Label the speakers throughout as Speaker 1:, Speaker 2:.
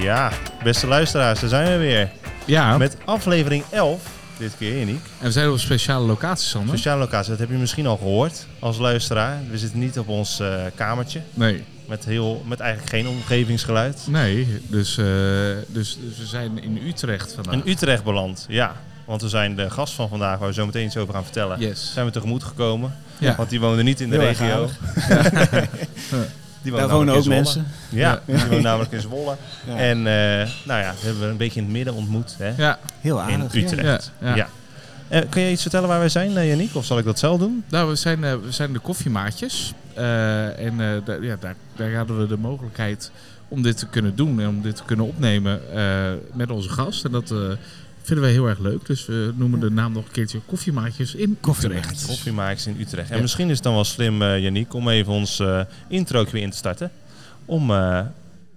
Speaker 1: Ja, beste luisteraars, daar zijn we weer.
Speaker 2: Oh.
Speaker 3: Ja,
Speaker 1: Met aflevering 11, dit keer Uniek.
Speaker 3: en we zijn op een speciale locatie, Sander.
Speaker 1: Sociale locatie, dat heb je misschien al gehoord als luisteraar. We zitten niet op ons eh, kamertje
Speaker 3: Nee,
Speaker 1: met, heel, met eigenlijk geen omgevingsgeluid.
Speaker 3: nee. Dus, eh, dus, dus we zijn in Utrecht vandaag.
Speaker 1: In Utrecht beland, ja. Want we zijn de gast van vandaag, waar we zo meteen iets over gaan vertellen.
Speaker 3: Yes.
Speaker 1: Zijn we tegemoet gekomen,
Speaker 3: Ja.
Speaker 1: want die woonde niet in de
Speaker 2: Heel erg
Speaker 1: regio.
Speaker 2: aardig.
Speaker 1: Die
Speaker 2: Daar
Speaker 1: namelijk
Speaker 2: wonen
Speaker 1: in
Speaker 2: ook
Speaker 1: Zwolle.
Speaker 2: mensen.
Speaker 1: Ja,
Speaker 3: Ja.
Speaker 1: die woont namelijk in Zwolle.
Speaker 2: Ja.
Speaker 1: En eh, nou ja, dat hebben we een beetje in het midden ontmoet. Hè?
Speaker 3: Ja,
Speaker 2: Heel
Speaker 1: In
Speaker 2: aardig. ja.
Speaker 1: Utrecht.
Speaker 3: Ja, ja.
Speaker 1: Ja. Eh, kun je iets vertellen waar wij zijn, eh, Yannick? Of zal ik dat zelf doen?
Speaker 3: nou, we zijn, eh, we zijn de koffiemaatjes. Eh, en eh, daar- ja, daar, daar hadden we de mogelijkheid om dit te kunnen doen en om dit te kunnen opnemen eh, met onze gast. En dat eh, vinden wij heel erg leuk. Dus we noemen de naam nog een keertje koffiemaatjes in
Speaker 2: Koffiemaatjes.
Speaker 3: Utrecht.
Speaker 1: Koffiemaakjes in Utrecht. En
Speaker 3: Ja.
Speaker 1: misschien is het dan wel slim, eh Yannick, om even ons eh intro weer in te starten. Om eh,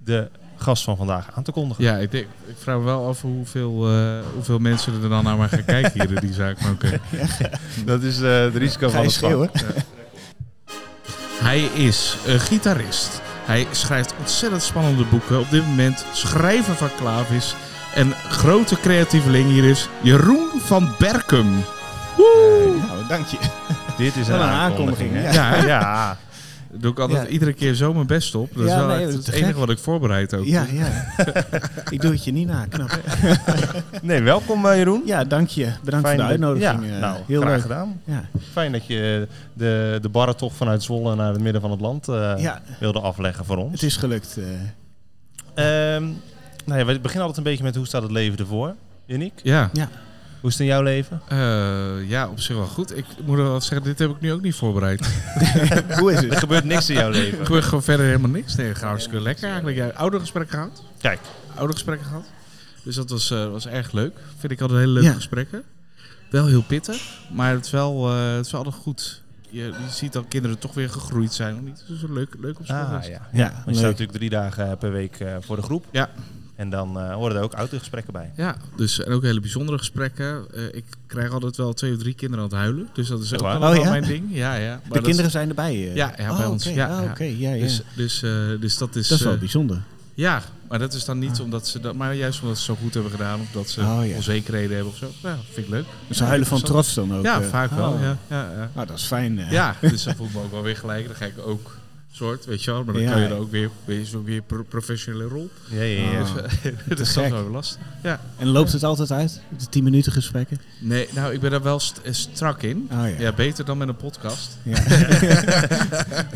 Speaker 1: de gast van vandaag aan te kondigen.
Speaker 3: Ja, ik, denk, ik vraag me wel af hoeveel, eh, hoeveel mensen er dan naar maar gaan kijken hier in die zaak. Maar oké.
Speaker 1: Dat
Speaker 2: eh,
Speaker 1: is het risico
Speaker 2: Ga je schreeuwen?
Speaker 3: Hij is een gitarist. Hij schrijft ontzettend spannende boeken. Op dit moment schrijver van Klavis. En grote creatieveling hier is Jeroen van Berkum. Woe!
Speaker 2: Nou, dank je.
Speaker 1: Dit is een,
Speaker 2: Wat een
Speaker 1: aankondiging.
Speaker 2: aankondiging,
Speaker 1: hè?
Speaker 3: Ja,
Speaker 1: Ja.
Speaker 3: hè? doe ik altijd
Speaker 2: Ja.
Speaker 3: iedere keer zo mijn best op. Dat is
Speaker 2: Ja,
Speaker 3: wel
Speaker 2: nee,
Speaker 3: echt
Speaker 2: te
Speaker 3: het
Speaker 2: gek.
Speaker 3: enige wat ik voorbereid ook.
Speaker 2: Ja, ja. ik doe het je niet na. Knap. hè?
Speaker 1: Nee, welkom eh, Jeroen.
Speaker 2: Ja, dank je. Bedankt voor de
Speaker 1: dat-
Speaker 2: uitnodiging.
Speaker 1: Ja,
Speaker 2: eh,
Speaker 1: nou,
Speaker 2: heel
Speaker 1: graag
Speaker 2: leuk.
Speaker 1: gedaan.
Speaker 2: Ja.
Speaker 1: Fijn dat je eh, de, de barretocht vanuit Zwolle naar het midden van het land eh,
Speaker 2: ja,
Speaker 1: wilde afleggen voor ons.
Speaker 2: het is gelukt. eh.
Speaker 1: Ehm, nou ja, we beginnen altijd een beetje met hoe staat het leven ervoor, Yannick?
Speaker 3: Ja.
Speaker 1: Hoe is het in jouw leven?
Speaker 3: Eh, ja, op zich wel goed. Ik moet wel wat zeggen, dit heb ik nu ook niet voorbereid.
Speaker 2: Hoe is
Speaker 1: Er
Speaker 2: het?
Speaker 1: gebeurt niks in jouw
Speaker 3: Ik
Speaker 1: leven.
Speaker 3: gebeurt gewoon verder helemaal niks. Nee, gaat hartstikke lekker eigenlijk. Ja, oudergesprek gehad.
Speaker 1: Kijk,
Speaker 3: oude gesprekken gehad. Dus dat was, eh, was erg leuk. Vind ik altijd hele leuke
Speaker 2: Ja.
Speaker 3: gesprekken. Wel heel pittig, maar het is wel, eh, het is wel altijd goed. Je, je ziet dat kinderen toch weer gegroeid zijn. of niet? Dus is leuk, leuk op school.
Speaker 1: ah,
Speaker 3: is.
Speaker 1: ja.
Speaker 2: Ja,
Speaker 1: Want je staat
Speaker 2: leuk.
Speaker 1: natuurlijk drie dagen per week eh, voor de groep.
Speaker 3: Ja.
Speaker 1: En dan eh, horen er ook autogesprekken bij.
Speaker 3: Ja, dus en ook hele bijzondere gesprekken. Eh, ik krijg altijd wel twee of drie kinderen aan het huilen. Dus dat is ook
Speaker 1: Echt waar?
Speaker 3: allemaal
Speaker 2: Oh, ja?
Speaker 3: mijn ding. Ja, ja. Maar dat
Speaker 2: De
Speaker 3: is-
Speaker 2: kinderen zijn erbij. eh.
Speaker 3: Ja, ja, bij
Speaker 2: Oh,
Speaker 3: ons.
Speaker 2: oké.
Speaker 3: Ja,
Speaker 2: Ah,
Speaker 3: ja.
Speaker 2: oké. Ja, ja.
Speaker 3: Dus, dus, eh, dus dat is...
Speaker 2: Dat is wel
Speaker 3: eh,
Speaker 2: bijzonder.
Speaker 3: ja, maar dat is dan niet
Speaker 2: Ah.
Speaker 3: omdat ze dat... Maar juist omdat ze het zo goed hebben gedaan. Of dat ze
Speaker 2: Oh, ja.
Speaker 3: onzekerheden hebben of zo. Ja, vind ik leuk.
Speaker 2: Ze huilen van
Speaker 3: interessant.
Speaker 2: trots dan ook.
Speaker 3: Ja,
Speaker 2: eh.
Speaker 3: vaak wel.
Speaker 2: Oh.
Speaker 3: Ja, ja, ja.
Speaker 2: Nou, dat is fijn. eh.
Speaker 3: ja, dus dat voelt me ook wel weer gelijk. Dan ga ik ook soort, weet je wel. Maar dan
Speaker 2: Ja.
Speaker 3: kan je er ook weer, weer, zo weer pro- professionele rol.
Speaker 1: Ja, ja, ja.
Speaker 2: Ah.
Speaker 3: Dus, eh, dat is
Speaker 2: gek.
Speaker 3: wel weer lastig. Ja.
Speaker 2: En loopt het altijd uit? De 10 minuten gesprekken?
Speaker 3: Nee, nou, ik ben daar wel st- eh, strak in.
Speaker 2: Ah ja.
Speaker 3: Ja, beter dan met een podcast.
Speaker 2: Ja.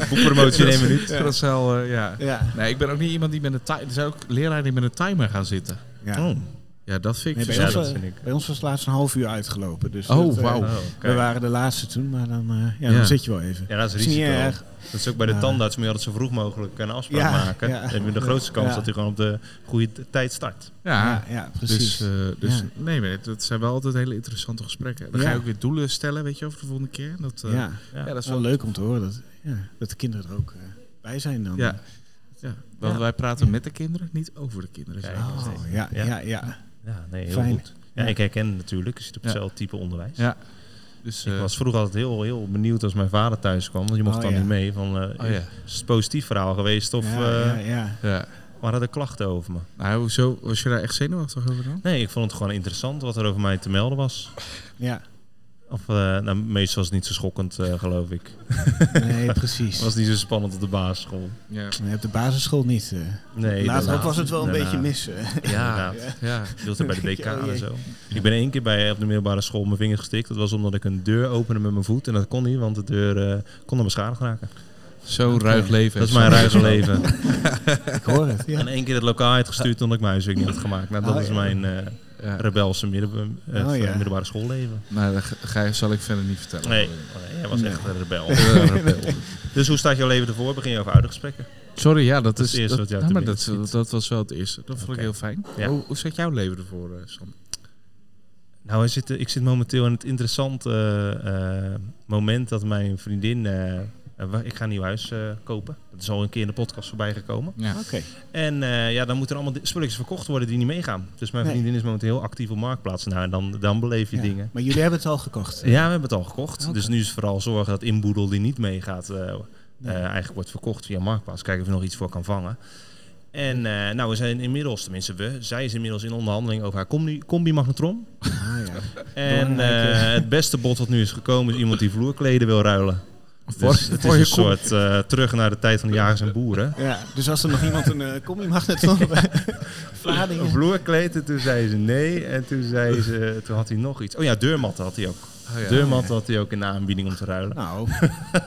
Speaker 3: Boekpromotie in één minuut.
Speaker 2: Ja.
Speaker 3: Dat is wel, eh, ja.
Speaker 2: ja.
Speaker 3: Nee, ik ben ook niet iemand die met een timer... Er zijn ook leraren die met een timer gaan zitten.
Speaker 2: ja.
Speaker 1: Oh,
Speaker 3: Ja, dat vind
Speaker 2: Nee,
Speaker 3: ik...
Speaker 2: bij,
Speaker 1: Ja,
Speaker 3: zo-
Speaker 2: ons,
Speaker 1: dat
Speaker 2: eh,
Speaker 1: vind ik.
Speaker 2: bij ons was het laatst een half uur uitgelopen. Dus
Speaker 3: Oh,
Speaker 2: dat, eh,
Speaker 3: wauw.
Speaker 1: oh,
Speaker 2: We
Speaker 1: kijk.
Speaker 2: waren de laatste toen, maar dan, eh, ja,
Speaker 3: Ja.
Speaker 2: dan zit je wel even.
Speaker 1: Ja, dat is
Speaker 2: is niet
Speaker 1: risico.
Speaker 2: erg.
Speaker 1: Dat is ook bij de
Speaker 2: Ja.
Speaker 1: tandarts, moet je altijd zo vroeg mogelijk een afspraak
Speaker 2: Ja,
Speaker 1: maken.
Speaker 2: ja.
Speaker 1: Dan heb je de grootste kans
Speaker 2: Ja.
Speaker 1: dat hij gewoon op de goede t- tijd start.
Speaker 3: Ja,
Speaker 2: Ja, ja precies.
Speaker 3: Dus, eh, dus
Speaker 2: Ja.
Speaker 3: nee, maar dat zijn wel altijd hele interessante gesprekken. Dan ga je
Speaker 2: Ja.
Speaker 3: ook weer doelen stellen, weet je, over de volgende keer. Dat, eh,
Speaker 2: ja,
Speaker 3: ja, dat
Speaker 2: dat
Speaker 3: is
Speaker 2: is wel
Speaker 3: wel
Speaker 2: leuk om te horen dat, ja, dat de kinderen er ook eh, bij zijn dan.
Speaker 3: Ja. Ja, want
Speaker 2: Ja.
Speaker 3: wij praten met de kinderen, niet over de kinderen. zeg
Speaker 1: Kijk.
Speaker 3: maar.
Speaker 2: Oh, ja,
Speaker 1: Ja.
Speaker 2: ja, ja. ja.
Speaker 1: Ja, nee, heel
Speaker 2: Fijn.
Speaker 1: goed. Ja,
Speaker 2: Ja.
Speaker 1: ik herken natuurlijk. Je zit op
Speaker 3: Ja.
Speaker 1: hetzelfde type onderwijs.
Speaker 3: Ja. Dus,
Speaker 1: Ik
Speaker 3: eh,
Speaker 1: was vroeger altijd heel, heel benieuwd als mijn vader thuis kwam. Want je mocht
Speaker 2: Oh,
Speaker 1: dan
Speaker 2: ja.
Speaker 1: niet mee. Van, eh,
Speaker 3: Oh, ja.
Speaker 1: Is het positief verhaal geweest? Of
Speaker 2: ja,
Speaker 1: eh,
Speaker 2: ja, ja.
Speaker 3: ja.
Speaker 1: waren er klachten over me?
Speaker 3: Nou, hoezo, was je daar echt zenuwachtig over dan?
Speaker 1: Nee, ik vond het gewoon interessant wat er over mij te melden was.
Speaker 2: Ja.
Speaker 1: Of, eh, nou, meestal is het niet zo schokkend, eh, geloof ik.
Speaker 2: nee, precies.
Speaker 1: Het was niet zo spannend op de basisschool.
Speaker 3: Ja.
Speaker 2: Nee, op de basisschool niet. eh.
Speaker 1: Nee,
Speaker 2: Later
Speaker 1: daarna-
Speaker 2: ook was het wel een
Speaker 1: daarna-
Speaker 2: beetje mis. eh.
Speaker 1: Inderdaad.
Speaker 2: Ja.
Speaker 3: Ja.
Speaker 1: Ik hield er bij de
Speaker 2: Denk je,
Speaker 1: decaan
Speaker 2: oh
Speaker 1: en
Speaker 2: jee.
Speaker 1: zo. Ik ben één keer bij, op de middelbare school mijn vinger gestikt. Dat was omdat ik een deur opende met mijn voet. En dat kon niet, want de deur eh, kon dan beschadigd raken.
Speaker 3: Zo ruig leven.
Speaker 1: Dat is mijn ruige leven.
Speaker 2: eh. Ik hoor het. Ja.
Speaker 1: En één keer het lokaal uitgestuurd omdat ik mijn huiswerk niet had gemaakt. Nou, dat
Speaker 2: Oh,
Speaker 1: is
Speaker 2: ja.
Speaker 1: mijn eh,
Speaker 3: Ja.
Speaker 1: rebelse midden, eh,
Speaker 2: Oh, ja.
Speaker 1: middelbare schoolleven.
Speaker 3: Nou, dat ga- ga je, zal ik verder niet vertellen.
Speaker 1: Nee, nee, jij was
Speaker 2: Nee.
Speaker 1: echt een rebel.
Speaker 3: Eh, rebel.
Speaker 1: Dus hoe staat jouw leven ervoor? Begin je over oude gesprekken?
Speaker 3: Sorry, ja, dat,
Speaker 1: is
Speaker 3: is,
Speaker 1: het eerste wat jou
Speaker 3: nou,
Speaker 1: te
Speaker 3: maar
Speaker 1: binnen
Speaker 3: dat, dat, was wel het eerste. Dat vond
Speaker 1: Oké.
Speaker 3: ik heel fijn.
Speaker 1: Ja.
Speaker 3: Hoe, hoe zit jouw leven ervoor, eh Sam?
Speaker 1: Nou, hij zit, ik zit momenteel in het interessante eh, eh, moment dat mijn vriendin... eh, eh, wa- ik ga een nieuw huis eh, kopen. Dat is al een keer in de podcast voorbij gekomen.
Speaker 3: Ja.
Speaker 2: Oké.
Speaker 1: En eh, ja, dan moeten er allemaal di- spulletjes verkocht worden die niet meegaan. Dus mijn
Speaker 2: Nee.
Speaker 1: vriendin is momenteel heel actief op Marktplaats. Nou, en dan, dan beleef je
Speaker 2: Ja.
Speaker 1: dingen.
Speaker 2: Maar jullie hebben het al gekocht.
Speaker 1: Ja, we hebben het al gekocht.
Speaker 2: Oké.
Speaker 1: Dus nu is het vooral zorgen dat inboedel die niet meegaat... eh,
Speaker 2: Nee.
Speaker 1: eh, eigenlijk wordt verkocht via Marktplaats. Kijken of je nog iets voor kan vangen. En eh, nou, we zijn inmiddels, tenminste we, zij is inmiddels in onderhandeling over haar combi, combi-magnetron.
Speaker 2: Ah, ja.
Speaker 1: En
Speaker 2: Belangrijk,
Speaker 1: eh, het beste bod wat nu is gekomen is iemand die vloerkleden wil ruilen.
Speaker 3: Voor,
Speaker 1: Dus het is
Speaker 3: voor
Speaker 1: een
Speaker 3: je kom-
Speaker 1: soort eh, terug naar de tijd van de jagers en boeren.
Speaker 2: ja. Dus als er nog iemand een uh, combi-magnet wil...
Speaker 1: Een
Speaker 2: Vlaardingen.
Speaker 1: vloerkleed en toen zei ze nee. En toen, zei ze, toen had hij nog iets. Oh ja, deurmatten had hij ook.
Speaker 3: Oh ja.
Speaker 1: Deurmatten had hij ook in de aanbieding om te ruilen.
Speaker 2: Nou,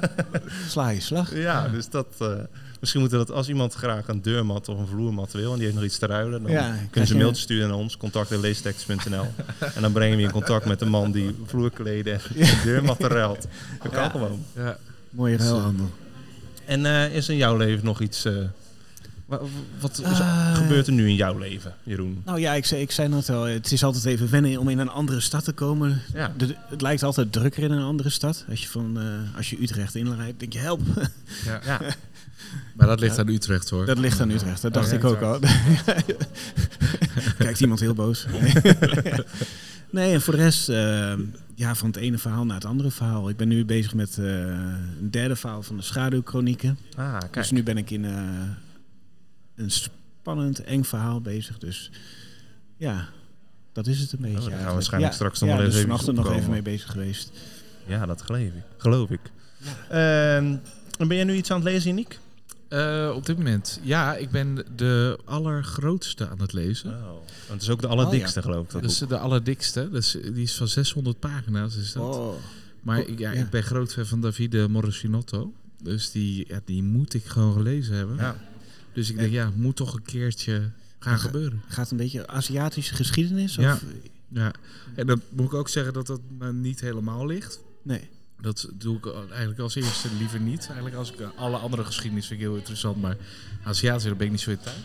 Speaker 2: sla je slag.
Speaker 1: Ja, dus dat... eh, misschien moeten we dat als iemand graag een deurmat of een vloermat wil... en die heeft nog iets te ruilen, dan
Speaker 2: Ja,
Speaker 1: kunnen
Speaker 2: krijg
Speaker 1: ze
Speaker 2: je
Speaker 1: een
Speaker 2: een-
Speaker 1: mailtje sturen naar ons... contact.leestext.nl En dan brengen we je in contact met de man die vloerkleden en deurmatten ruilt. Dat kan
Speaker 2: Ja.
Speaker 1: gewoon.
Speaker 3: Ja.
Speaker 2: Mooie ruilhandel.
Speaker 1: En eh, is in jouw leven nog iets... eh, wa- wat is-
Speaker 2: Eh,
Speaker 1: gebeurt er nu in jouw leven, Jeroen?
Speaker 2: Nou ja, ik zei, ik zei net al, eh, het is altijd even wennen om in een andere stad te komen.
Speaker 1: Ja.
Speaker 2: De- het lijkt altijd drukker in een andere stad. Als je, van, eh, als je Utrecht inrijdt, denk je help.
Speaker 1: Ja.
Speaker 3: Maar dat ligt aan Utrecht hoor.
Speaker 2: Dat ligt aan Utrecht, dat
Speaker 3: Oh,
Speaker 2: dacht
Speaker 3: ja,
Speaker 2: ik ook al. Kijkt iemand heel boos. nee, en voor de rest, eh, ja, van het ene verhaal naar het andere verhaal. Ik ben nu bezig met eh, een derde verhaal van de schaduwchronieken.
Speaker 1: Ah, kijk.
Speaker 2: Dus nu ben ik in eh, een spannend, eng verhaal bezig. Dus ja, dat is het
Speaker 3: Oh,
Speaker 2: een beetje.
Speaker 1: daar gaan we
Speaker 2: eigenlijk.
Speaker 1: waarschijnlijk
Speaker 2: Ja,
Speaker 1: straks nog
Speaker 2: ja,
Speaker 1: wel eens
Speaker 2: dus
Speaker 1: even
Speaker 2: vanochtend nog
Speaker 1: opkomen.
Speaker 2: even mee bezig geweest.
Speaker 1: Ja, dat geloof ik. Geloof ik. Ehm, en ben jij nu iets aan het lezen, Niek?
Speaker 3: Eh, op dit moment. Ja, ik ben de allergrootste aan het lezen.
Speaker 1: Oh. Want het is ook de
Speaker 2: Oh,
Speaker 1: allerdikste, geloof ik. Dat
Speaker 3: Dat is de allerdikste. Dat is, die is van 600 pagina's. Is dat.
Speaker 2: Oh.
Speaker 3: Maar ik, ja,
Speaker 2: Ja.
Speaker 3: ik ben groot fan van Davide Morosinotto. Dus die, ja, die moet ik gewoon gelezen hebben.
Speaker 1: Ja.
Speaker 3: Dus ik denk, ja, het moet toch een keertje gaan gebeuren.
Speaker 2: Gaat een beetje Aziatische geschiedenis?
Speaker 3: Ja.
Speaker 2: Of?
Speaker 3: Ja. En dan moet ik ook zeggen dat dat me niet helemaal ligt.
Speaker 2: Nee.
Speaker 3: Dat doe ik eigenlijk als eerste liever niet. Eigenlijk als ik eh, alle andere geschiedenis vind ik heel interessant. Maar Aziatische, daar ben ik niet zo in thuis.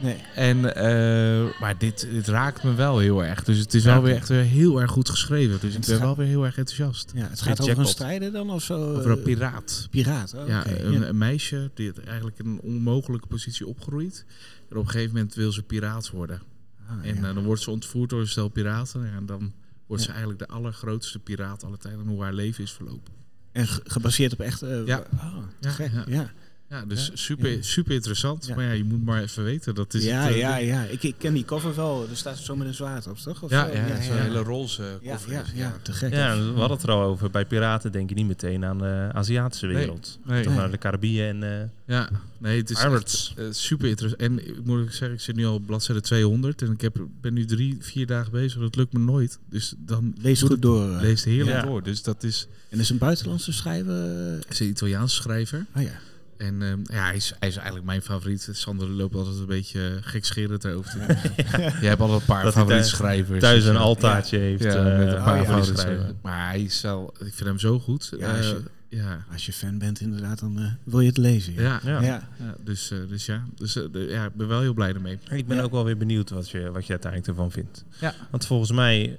Speaker 2: nee.
Speaker 3: En, eh, maar dit, dit raakt me wel heel erg. Dus het is wel weer echt weer heel erg goed geschreven. Dus ik
Speaker 2: het
Speaker 3: ben
Speaker 2: gaat-
Speaker 3: wel weer heel erg enthousiast.
Speaker 2: Ja, het
Speaker 1: Geen
Speaker 2: gaat over een
Speaker 1: jackpot.
Speaker 2: strijder dan of zo?
Speaker 3: Over een
Speaker 2: Eh,
Speaker 3: piraat.
Speaker 2: piraat. Oh,
Speaker 3: Ja,
Speaker 2: oké,
Speaker 3: een, een meisje die het eigenlijk in een onmogelijke positie opgroeit. En op een gegeven moment wil ze piraat worden.
Speaker 2: Ah,
Speaker 3: En
Speaker 2: ja.
Speaker 3: eh, dan wordt ze ontvoerd door een stel piraten. En dan wordt ze eigenlijk de allergrootste piraat aller tijden. En hoe haar leven is verlopen.
Speaker 2: En ge- gebaseerd op echt... eh,
Speaker 3: Ja.
Speaker 2: wa- oh,
Speaker 3: Ja,
Speaker 2: gek.
Speaker 3: ja.
Speaker 2: Ja, ja.
Speaker 3: Ja, dus
Speaker 2: Ja,
Speaker 3: super,
Speaker 2: ja.
Speaker 3: super interessant.
Speaker 2: Ja.
Speaker 3: Maar ja, je moet maar even weten. Dat is
Speaker 2: ja,
Speaker 3: het, eh,
Speaker 2: ja,
Speaker 3: ding.
Speaker 2: Ik, ik ken die cover wel. Er staat zo met een zwaard op, toch? Of
Speaker 3: Ja,
Speaker 2: zo?
Speaker 3: ja, het is een
Speaker 2: ja.
Speaker 3: hele roze
Speaker 2: Ja,
Speaker 3: koffer.
Speaker 2: ja, ja, te gek.
Speaker 1: Ja, we hadden het er al over. Bij piraten denk je niet meteen aan de Aziatische
Speaker 3: Nee.
Speaker 1: wereld.
Speaker 3: Nee,
Speaker 1: Toch naar de Caribië en eh
Speaker 3: ja, nee, het is echt,
Speaker 1: Pirates.
Speaker 3: eh, super interessant. En ik moet ook zeggen, ik zit nu al op bladzijde 200. En ik heb, ben nu drie, vier dagen bezig. Dat lukt me nooit. Dus dan
Speaker 2: Lees goed door. eh.
Speaker 3: leest heerlijk
Speaker 1: Ja.
Speaker 3: door. Dus dat is...
Speaker 2: En is een buitenlandse schrijver. eh,
Speaker 3: Hij is een Italiaans schrijver.
Speaker 2: Ah ja.
Speaker 3: En ehm, ja, hij, is, hij is eigenlijk mijn favoriet. Sander loopt altijd een beetje eh, gekscherend over. te doen. Jij hebt altijd een paar
Speaker 1: Dat hij
Speaker 3: favoriete
Speaker 1: thuis-
Speaker 3: schrijvers. dus, eh,
Speaker 1: thuis een
Speaker 3: Ja.
Speaker 1: altaartje heeft.
Speaker 3: Ja,
Speaker 1: eh,
Speaker 3: met een paar
Speaker 1: voor
Speaker 2: ja.
Speaker 3: favoriete
Speaker 1: schrijven.
Speaker 3: schrijvers. Maar hij is wel... Ik vind hem zo goed.
Speaker 2: Ja, als je-
Speaker 3: Eh, ja.
Speaker 2: Als je fan bent, inderdaad, dan eh, wil je het lezen. Ja.
Speaker 3: Ja.
Speaker 1: Ja.
Speaker 2: Ja.
Speaker 3: Ja, dus, eh, dus ja, dus, eh, de- ja, ik ben wel heel blij ermee.
Speaker 1: Ik ben
Speaker 2: Ja.
Speaker 1: ook wel weer benieuwd wat je, wat je uiteindelijk ervan vindt.
Speaker 3: Ja.
Speaker 1: Want volgens mij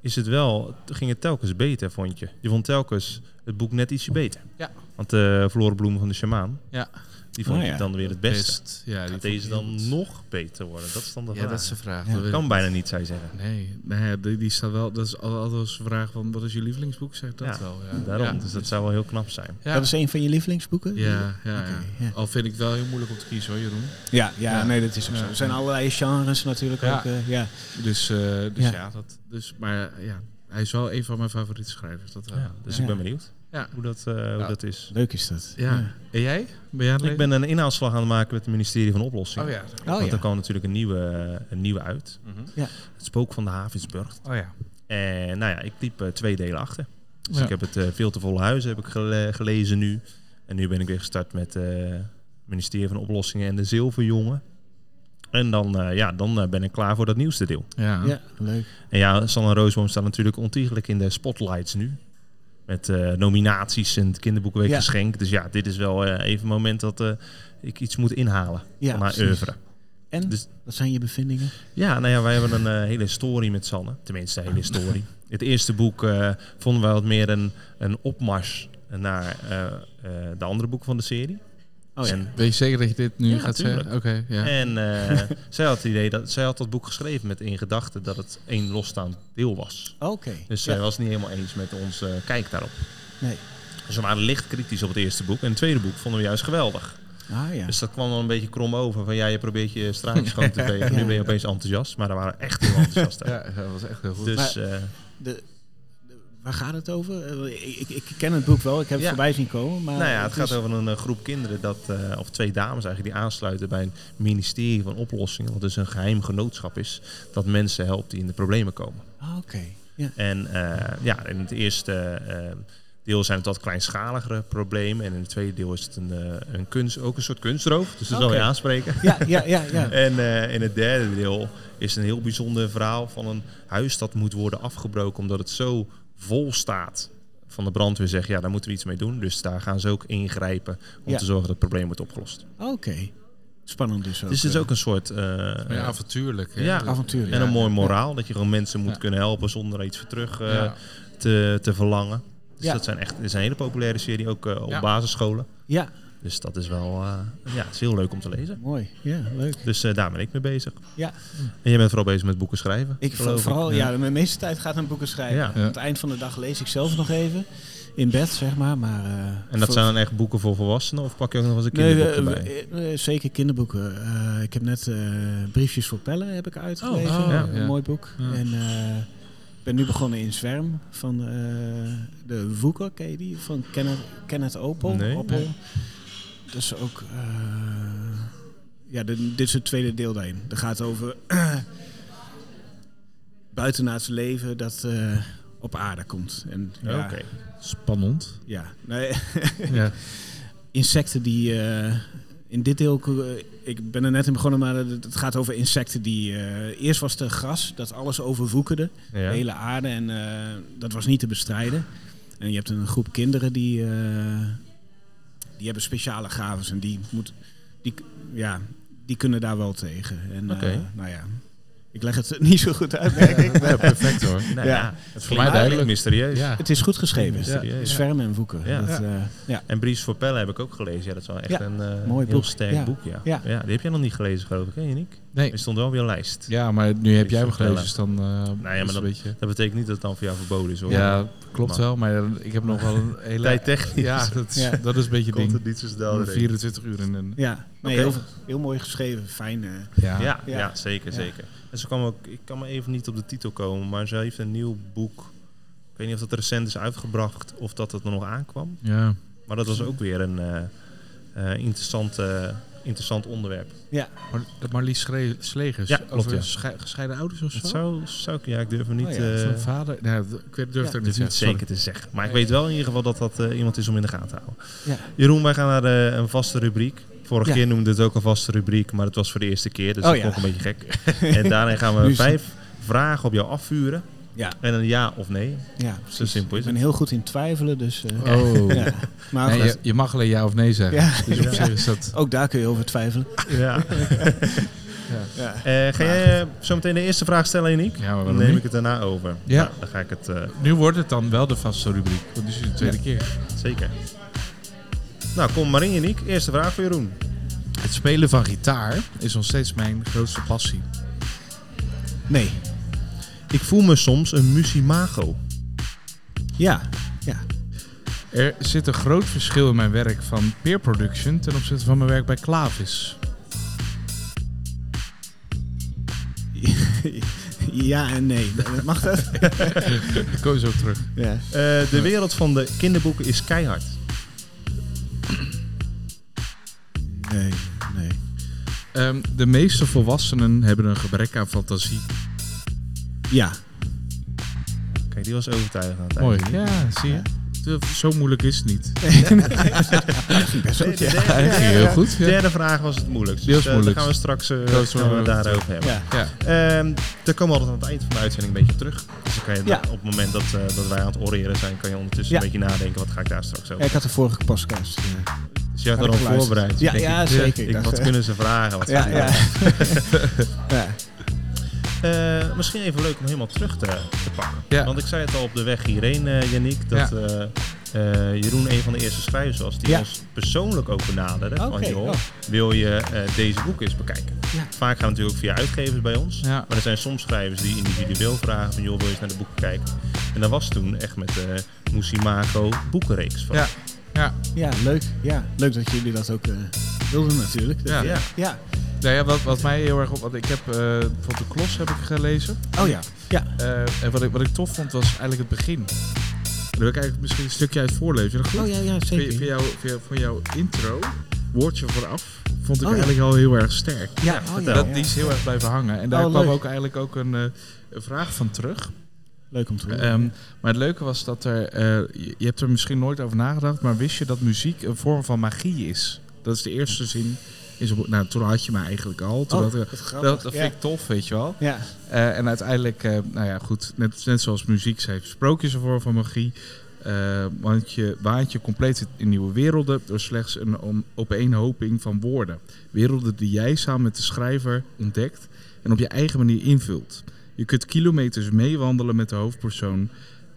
Speaker 1: is het wel, ging het telkens beter, vond je. Je vond telkens het boek net ietsje beter.
Speaker 3: Ja.
Speaker 1: Want de Florenbloem van de Sjamaan,
Speaker 3: Nou Ja.
Speaker 1: die vond
Speaker 2: Oh,
Speaker 1: je
Speaker 2: ja.
Speaker 1: dan weer het beste.
Speaker 3: Ja, die
Speaker 1: Gaat
Speaker 3: vond
Speaker 1: deze
Speaker 3: ik
Speaker 1: dan
Speaker 3: heel goed.
Speaker 1: nog beter worden? Dat is dan de
Speaker 3: Ja,
Speaker 1: vraag.
Speaker 3: dat is de vraag.
Speaker 2: Ja.
Speaker 3: Dat weet
Speaker 1: kan
Speaker 3: ik
Speaker 1: bijna niet, zou je zeggen.
Speaker 3: niet. Nee, nou ja, die, die staat wel... Dat is al- altijd als vraag van, wat is je lievelingsboek? Zegt dat
Speaker 1: Ja,
Speaker 3: wel, ja.
Speaker 1: Daarom,
Speaker 3: Ja.
Speaker 1: dus dat zou wel heel knap zijn.
Speaker 3: Ja.
Speaker 2: Dat is een van je lievelingsboeken?
Speaker 3: Ja, ja, ja.
Speaker 2: Oké, ja.
Speaker 3: Al vind ik het wel heel moeilijk om te kiezen hoor, Jeroen.
Speaker 2: Ja, ja,
Speaker 3: Ja.
Speaker 2: nee, dat is ook
Speaker 3: Ja.
Speaker 2: zo. Er zijn allerlei genres natuurlijk
Speaker 3: Ja.
Speaker 2: ook. eh, ja.
Speaker 3: Dus, eh, dus ja,
Speaker 2: Ja.
Speaker 3: dat, dus, maar eh, ja, hij is wel een van mijn favoriete schrijvers. Dat wel.
Speaker 1: Ja, dus
Speaker 2: Ja.
Speaker 1: ik ben benieuwd
Speaker 3: Ja.
Speaker 1: hoe dat, eh, hoe
Speaker 3: Ja.
Speaker 1: dat is.
Speaker 2: Leuk is dat.
Speaker 3: Ja. En jij? Ben jij aan het
Speaker 1: Ik
Speaker 3: lezen?
Speaker 1: ben een inhaalslag aan het maken met het ministerie van Oplossing.
Speaker 3: Oh ja.
Speaker 2: Oh,
Speaker 1: Want
Speaker 2: ja.
Speaker 1: er kwam natuurlijk een nieuwe, eh, een nieuwe uit.
Speaker 2: Ja.
Speaker 1: Het spook van de Havensburg.
Speaker 3: Oh ja.
Speaker 1: En nou ja, ik liep eh, twee delen achter. Dus
Speaker 3: Ja.
Speaker 1: ik heb het eh, veel te volle huis heb ik gele- gelezen nu. En nu ben ik weer gestart met eh, het ministerie van Oplossingen en de Zilverjongen. En dan, eh, ja, dan eh, ben ik klaar voor dat nieuwste deel.
Speaker 3: Ja.
Speaker 2: ja, leuk.
Speaker 1: En ja, Sanne Roosboom staat natuurlijk ontiegelijk in de spotlights nu. Met eh, nominaties en het kinderboekenweek
Speaker 2: Ja.
Speaker 1: geschenk. Dus ja, dit is wel eh, even een moment dat eh, ik iets moet inhalen
Speaker 2: Ja,
Speaker 1: van haar
Speaker 2: precies.
Speaker 1: oeuvre.
Speaker 2: En,
Speaker 1: Dus-
Speaker 2: wat zijn je bevindingen?
Speaker 1: Ja, nou ja, wij hebben een eh, hele story met Sanne. Tenminste, een hele story. Het eerste boek eh, vonden wij wat meer een, een opmars naar eh, eh, de andere boeken van de serie.
Speaker 2: Oh ja.
Speaker 1: en
Speaker 3: Weet je zeker dat je dit nu
Speaker 1: Ja,
Speaker 3: gaat
Speaker 1: tuurlijk.
Speaker 3: zeggen? Oké, ja.
Speaker 1: en eh, zij had het idee dat zij had dat boek geschreven met in gedachte dat het één losstaand deel was.
Speaker 2: Oké.
Speaker 1: Dus zij
Speaker 2: ja.
Speaker 1: was niet helemaal eens met ons eh, kijk daarop.
Speaker 2: Nee.
Speaker 1: Dus we waren licht kritisch op het eerste boek. En het tweede boek vonden we juist geweldig.
Speaker 2: Ah ja.
Speaker 1: Dus dat kwam dan een beetje krom over. Van ja, je probeert je straatje schoon te vegen. Nu ben je opeens enthousiast. Maar daar waren echt heel enthousiast. over.
Speaker 3: Ja, dat was echt heel goed.
Speaker 1: Dus eh,
Speaker 2: De, de- waar gaat het over? Eh, Ik, ik, ik ken het boek wel, ik heb het
Speaker 1: Ja.
Speaker 2: voorbij zien komen. Maar
Speaker 1: nou ja, het
Speaker 2: is-
Speaker 1: gaat over een eh, groep kinderen, dat, eh, of twee dames eigenlijk, die aansluiten bij een ministerie van oplossingen. Wat dus een geheim genootschap is dat mensen helpt die in de problemen komen.
Speaker 2: Ah, Oké. Ja.
Speaker 1: En eh, ja, in het eerste eh, deel zijn het wat kleinschaligere problemen. En in het tweede deel is het een, eh, een kunst, ook een soort kunstroof. Dus dat zal
Speaker 2: Oké.
Speaker 1: je aanspreken.
Speaker 2: Ja, ja, ja, ja.
Speaker 1: En eh, in het derde deel is een heel bijzonder verhaal van een huis dat moet worden afgebroken omdat het zo vol staat. Van de brandweer zegt, ja, daar moeten we iets mee doen. Dus daar gaan ze ook ingrijpen om
Speaker 2: Ja.
Speaker 1: te zorgen dat het probleem wordt opgelost.
Speaker 2: Oké. Spannend dus ook.
Speaker 1: dus het is
Speaker 2: eh.
Speaker 1: ook een soort... eh,
Speaker 3: ja, avontuurlijk. hè.
Speaker 1: Ja,
Speaker 3: Dat-
Speaker 2: avontuurlijk.
Speaker 1: en een
Speaker 3: ja.
Speaker 1: mooi moraal, dat je gewoon mensen moet
Speaker 3: Ja.
Speaker 1: kunnen helpen zonder er iets voor terug eh,
Speaker 3: Ja.
Speaker 1: te, te verlangen. Dus
Speaker 2: Ja.
Speaker 1: dat zijn echt, is een hele populaire serie, ook eh, op
Speaker 3: Ja.
Speaker 1: basisscholen.
Speaker 2: Ja,
Speaker 1: Dus dat is wel eh, ja, het is heel leuk om te lezen.
Speaker 2: mooi. Ja, leuk.
Speaker 1: Dus eh, daar ben ik mee bezig.
Speaker 2: Ja.
Speaker 1: En jij bent vooral bezig met boeken schrijven.
Speaker 2: Ik
Speaker 1: geloof ik.
Speaker 2: vooral, ja, mijn meeste tijd gaat aan boeken schrijven.
Speaker 1: Ja.
Speaker 3: Ja.
Speaker 2: Aan het eind van de dag lees ik zelf nog even. In bed, zeg maar. maar eh,
Speaker 1: En dat
Speaker 2: voor-
Speaker 1: zijn dan echt boeken voor volwassenen of pak je ook nog eens een
Speaker 2: Nee,
Speaker 1: kinderboek
Speaker 2: eh,
Speaker 1: erbij?
Speaker 2: eh, eh, zeker kinderboeken. Eh, ik heb net eh, Briefjes voor Pellen heb ik uitgelezen.
Speaker 3: oh, ja.
Speaker 2: Een mooi boek.
Speaker 3: Ja.
Speaker 2: En eh, ik ben nu begonnen in Zwerm van eh, de Woeker, ken je die? Van Kenneth, Kenneth Opel.
Speaker 1: Nee.
Speaker 2: Opel.
Speaker 3: Nee.
Speaker 2: Dat is ook... eh, ja, de- dit is het tweede deel daarin. Dat gaat over buitenaards leven dat eh, op aarde komt. En,
Speaker 1: Ja,
Speaker 2: ja,
Speaker 1: Oké.
Speaker 3: Spannend.
Speaker 2: ja. Nee,
Speaker 3: Ja.
Speaker 2: insecten die eh, in dit deel. eh, ik ben er net in begonnen, maar het het gaat over insecten die. eh, eerst was het gras dat alles overwoekerde,
Speaker 1: Ja.
Speaker 2: de hele aarde, en eh, dat was niet te bestrijden. En je hebt een groep kinderen die. eh, die hebben speciale gaves en die, moet, die, ja, die kunnen daar wel tegen. En, eh,
Speaker 1: Oké.
Speaker 2: nou ja, ik leg het niet zo goed uit, merk ik.
Speaker 3: Ja, perfect hoor.
Speaker 1: Nou
Speaker 2: Ja.
Speaker 1: ja,
Speaker 2: Het
Speaker 1: het voor
Speaker 3: mij
Speaker 1: mij duidelijk
Speaker 3: duidelijk.
Speaker 1: mysterieus.
Speaker 3: Ja.
Speaker 2: Het is goed geschreven.
Speaker 1: Ja.
Speaker 2: Het is Zwermen en woeken.
Speaker 1: Ja.
Speaker 2: Dat, eh, ja.
Speaker 1: En Bries voor Pellen heb ik ook gelezen. Ja, dat is wel echt
Speaker 2: Ja,
Speaker 1: een eh,
Speaker 2: mooi
Speaker 1: heel
Speaker 2: boek.
Speaker 1: sterk
Speaker 2: Ja.
Speaker 1: boek. Ja.
Speaker 2: Ja.
Speaker 1: Ja. die heb jij nog niet gelezen, geloof ik, hè, Yannick?
Speaker 3: Nee.
Speaker 1: Die stond wel op je lijst.
Speaker 3: Ja, maar nu heb
Speaker 1: Ik
Speaker 3: jij hem
Speaker 1: vertellen.
Speaker 3: gelezen, dus dan eh
Speaker 1: maar
Speaker 3: is het
Speaker 1: dat-
Speaker 3: een beetje...
Speaker 1: Dat betekent niet dat het dan voor jou verboden is, hoor.
Speaker 3: Ja, klopt
Speaker 1: Maar-
Speaker 3: wel, maar ik heb nog wel een hele...
Speaker 1: Tijdtechnisch
Speaker 3: Ja, dat is,
Speaker 2: Ja.
Speaker 3: Dat is een beetje het
Speaker 1: komt
Speaker 3: ding.
Speaker 1: het niet zo snel.
Speaker 3: Om
Speaker 1: doorheen.
Speaker 3: 24 uur in een...
Speaker 2: Ja, nee,
Speaker 1: Oké.
Speaker 2: heel, heel mooi geschreven, fijn. eh.
Speaker 3: Ja.
Speaker 1: Ja,
Speaker 2: Ja.
Speaker 1: ja. zeker,
Speaker 2: Ja.
Speaker 1: zeker. En ze kwam ook, ik kan me even niet op de titel komen, maar ze heeft een nieuw boek. Ik weet niet of dat recent is uitgebracht of dat het er nog aankwam.
Speaker 3: Ja.
Speaker 1: Maar dat was ook weer een eh, eh, interessant, eh, interessant onderwerp.
Speaker 3: Mar dat Marlies Schre- Slegers. eh,
Speaker 1: Ja, klopt,
Speaker 3: over
Speaker 1: ja.
Speaker 3: sche- gescheiden ouders of zo?
Speaker 1: Het zou, zou ik, ja, ik durf er niet,
Speaker 2: Oh
Speaker 1: eh
Speaker 2: ja,
Speaker 3: Zo'n vader? Nou, d- ik weet- durf het
Speaker 2: Ja,
Speaker 3: ook
Speaker 1: niet
Speaker 3: niet te zeggen.
Speaker 1: zeker te zeggen. Maar ik weet wel in ieder geval dat dat eh, iemand is om in de gaten te houden.
Speaker 2: Ja.
Speaker 1: Jeroen, wij gaan naar eh, een vaste rubriek. Vorige
Speaker 2: Ja.
Speaker 1: keer noemde het ook een vaste rubriek, maar het was voor de eerste keer. Dus
Speaker 2: Oh
Speaker 1: dat
Speaker 2: ja.
Speaker 1: vond ik een beetje gek. en daarin gaan
Speaker 2: Nu
Speaker 1: we
Speaker 2: is het-
Speaker 1: vijf vragen op jou afvuren.
Speaker 2: Ja.
Speaker 1: En een ja of nee.
Speaker 2: Ja,
Speaker 1: Zo simpel
Speaker 2: Ik
Speaker 1: is
Speaker 2: ben
Speaker 1: het.
Speaker 2: heel goed in twijfelen, dus... eh,
Speaker 3: Oh.
Speaker 2: ja. Maar
Speaker 3: Nee,
Speaker 2: goed,
Speaker 3: je, je mag alleen ja of nee zeggen.
Speaker 2: Ja.
Speaker 3: Dus op
Speaker 1: Ja.
Speaker 3: zich is dat...
Speaker 2: ook daar kun je over twijfelen.
Speaker 1: Ja.
Speaker 2: Ja.
Speaker 1: Eh, ga jij eh, zo meteen de eerste vraag stellen, Eniek?
Speaker 3: Ja, maar
Speaker 1: Dan
Speaker 3: waarom
Speaker 1: neem ik
Speaker 3: niet?
Speaker 1: het daarna over.
Speaker 3: Ja.
Speaker 1: Nou, dan ga ik het eh,
Speaker 3: Nu wordt het dan wel de vaste rubriek. Want dit is de tweede keer.
Speaker 1: zeker. Nou, kom maar in, Janiek. Eerste vraag voor Jeroen.
Speaker 3: Het spelen van gitaar is nog steeds mijn grootste passie.
Speaker 2: Nee.
Speaker 1: Ik voel me soms een musimago.
Speaker 2: Ja. Ja.
Speaker 3: Er zit een groot verschil in mijn werk van peer production ten opzichte van mijn werk bij Klavis.
Speaker 2: ja en nee. Mag dat?
Speaker 3: Ik kom zo op terug.
Speaker 2: Ja.
Speaker 1: Eh, de wereld van de kinderboeken is keihard.
Speaker 2: Nee. Nee.
Speaker 3: Ehm, de meeste volwassenen hebben een gebrek aan fantasie.
Speaker 2: Ja.
Speaker 1: Kijk, die was overtuigend. aan het
Speaker 3: Mooi.
Speaker 1: einde.
Speaker 3: Ja, zie je. De- Zo moeilijk is het niet.
Speaker 2: Best goed, ja.
Speaker 3: Ja, dat ging heel goed.
Speaker 1: De
Speaker 3: Ja.
Speaker 1: derde vraag was het moeilijkst.
Speaker 3: Die was
Speaker 1: eh, daar
Speaker 3: moeilijkst.
Speaker 1: gaan we straks eh,
Speaker 3: Dat is
Speaker 1: gaan we
Speaker 3: moeilijk.
Speaker 1: daarover hebben.
Speaker 2: Ja.
Speaker 3: Ja.
Speaker 1: Ehm, daar komen we altijd aan het eind van de uitzending een beetje op terug. Dus dan kan je
Speaker 2: Ja.
Speaker 1: daar- op het moment dat, eh, dat wij aan het oreren zijn, kan je ondertussen
Speaker 2: Ja.
Speaker 1: een beetje nadenken. Wat ga ik daar straks over?
Speaker 2: Ik had de vorige podcast. eh,
Speaker 1: Dus je had
Speaker 2: had
Speaker 1: er
Speaker 2: ik
Speaker 1: al
Speaker 2: geluisterd.
Speaker 1: voorbereid.
Speaker 2: Ja,
Speaker 1: Denk
Speaker 2: ja
Speaker 1: ik,
Speaker 2: zeker.
Speaker 1: ik, wat
Speaker 2: dacht, eh,
Speaker 1: kunnen ze vragen? Wat
Speaker 2: ja,
Speaker 1: gaan ze
Speaker 2: ja.
Speaker 1: vragen?
Speaker 2: ja.
Speaker 1: Eh, misschien even leuk om helemaal terug te, te pakken.
Speaker 3: Ja.
Speaker 1: Want ik zei het al op de weg hierheen, eh Yannick, dat
Speaker 3: Ja.
Speaker 1: eh, eh, Jeroen een van de eerste schrijvers was die
Speaker 2: Ja.
Speaker 1: ons persoonlijk ook benaderde. Van
Speaker 2: Oké,
Speaker 1: joh,
Speaker 2: oh.
Speaker 1: wil je eh, deze boeken eens bekijken?
Speaker 2: Ja.
Speaker 1: Vaak gaan we natuurlijk via uitgevers bij ons.
Speaker 3: Ja.
Speaker 1: Maar er zijn soms schrijvers die individueel vragen van joh, wil je eens naar de boeken kijken? En dat was toen echt met de Musimago eh, boekenreeks van.
Speaker 3: Ja. Ja.
Speaker 2: Ja, leuk. Ja, leuk dat jullie dat ook eh, wilden natuurlijk.
Speaker 3: Ja.
Speaker 1: Ja.
Speaker 2: ja.
Speaker 3: Nou ja, wat, wat mij heel erg op... Want ik heb eh bijvoorbeeld de Klos heb ik gelezen.
Speaker 2: Oh ja. Ja.
Speaker 3: Eh, en wat ik, wat ik tof vond was eigenlijk het begin. Daar wil ik eigenlijk misschien een stukje uit voorlezen. Dat
Speaker 2: Oh ja, ja,
Speaker 3: Voor, voor,
Speaker 2: zeker.
Speaker 3: jou, voor, jou- voor jouw intro, woordje vooraf, vond ik
Speaker 2: Oh ja.
Speaker 3: eigenlijk al heel erg sterk.
Speaker 2: Ja, oh, ja,
Speaker 3: dat,
Speaker 2: ja.
Speaker 3: Die is heel erg blijven hangen. En daar
Speaker 2: Oh,
Speaker 3: kwam
Speaker 2: leuk.
Speaker 3: ook eigenlijk ook een, eh, een vraag van terug.
Speaker 2: Leuk om te horen. Oh.
Speaker 3: Ehm, maar het leuke was dat er, eh, je je hebt er misschien nooit over nagedacht, maar wist je dat muziek een vorm van magie is? Dat is de eerste zin. in zo'n boek. nou, toen had je me eigenlijk al. Toen
Speaker 2: Oh,
Speaker 3: had ik- dat,
Speaker 2: is grappig.
Speaker 3: dat
Speaker 2: ja.
Speaker 3: vind ik tof, weet je wel.
Speaker 2: Ja.
Speaker 3: Eh, en uiteindelijk, eh, nou ja, goed, net, net zoals muziek heeft sprookjes een vorm van magie. Eh, want je waant je compleet in nieuwe werelden door slechts een om- opeenhoping van woorden. Werelden die jij samen met de schrijver ontdekt en op je eigen manier invult. Je kunt kilometers meewandelen met de hoofdpersoon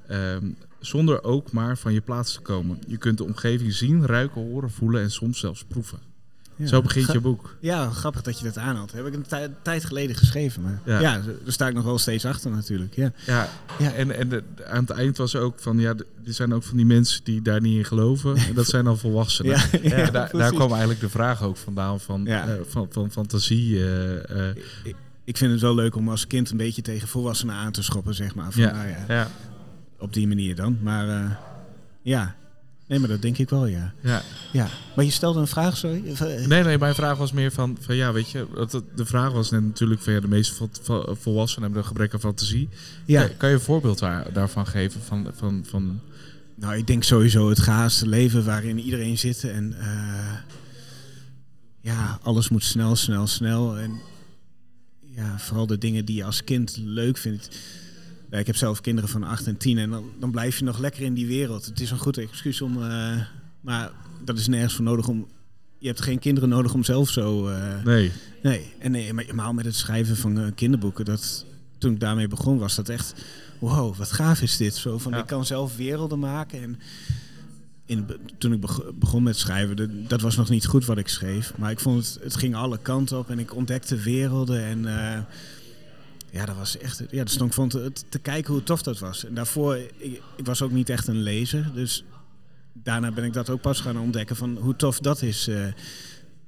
Speaker 3: ehm, zonder ook maar van je plaats te komen. Je kunt de omgeving zien, ruiken, horen, voelen en soms zelfs proeven.
Speaker 2: Ja.
Speaker 3: Zo begint
Speaker 2: Ga-
Speaker 3: je boek.
Speaker 2: Ja, grappig dat je dat aanhaalt. Heb ik een tij- tijd geleden geschreven. Maar
Speaker 3: Ja.
Speaker 2: ja. daar sta ik nog wel steeds achter natuurlijk. Ja.
Speaker 3: Ja, ja.
Speaker 2: Ja.
Speaker 3: en, en de- aan het eind was ook van, ja, d- er zijn ook van die mensen die daar niet in geloven. En dat zijn al volwassenen.
Speaker 2: Ja, ja,
Speaker 3: En daar, daar
Speaker 2: precies.
Speaker 3: kwam eigenlijk de vraag ook vandaan van,
Speaker 2: Ja.
Speaker 3: eh, van, van fantasie. eh, eh,
Speaker 2: Ik vind het wel leuk om als kind een beetje tegen volwassenen aan te schoppen, zeg maar. Van,
Speaker 3: Ja.
Speaker 2: nou ja,
Speaker 3: ja.
Speaker 2: op die manier dan. Maar eh, ja, nee, maar dat denk ik wel, ja.
Speaker 3: Ja.
Speaker 2: ja. Maar je stelde een vraag, sorry? Of, eh,
Speaker 3: Nee, nee, mijn vraag was meer van, van ja, weet je, dat, dat- de vraag was net natuurlijk van, ja, de meeste vo- vo- volwassenen hebben een gebrek aan fantasie.
Speaker 2: ja.
Speaker 3: Kan, kan je een voorbeeld daar, daarvan geven? Van, van, van,
Speaker 2: Nou, ik denk sowieso het gehaaste leven waarin iedereen zit en eh, ja, alles moet snel, snel, snel. En ja, vooral de dingen die je als kind leuk vindt. Ja, ik heb zelf kinderen van 8 en 10 en dan, dan blijf je nog lekker in die wereld. Het is een goed excuus om, eh, maar dat is nergens voor nodig om. Je hebt geen kinderen nodig om zelf zo. eh,
Speaker 3: nee.
Speaker 2: Nee, en nee, maar helemaal met het schrijven van eh, kinderboeken. Dat, toen ik daarmee begon was dat echt... Wow, wat gaaf is dit. Zo van,
Speaker 3: Ja.
Speaker 2: Ik kan zelf werelden maken. En in, het be- toen ik beg- begon met schrijven, de- dat was nog niet goed wat ik schreef. Maar ik vond het, het ging alle kanten op en ik ontdekte werelden. En eh, ja, dat was echt... Ja, dus ik vond het te kijken hoe tof dat was. En daarvoor, ik, ik was ook niet echt een lezer. Dus daarna ben ik dat ook pas gaan ontdekken van hoe tof dat is... eh,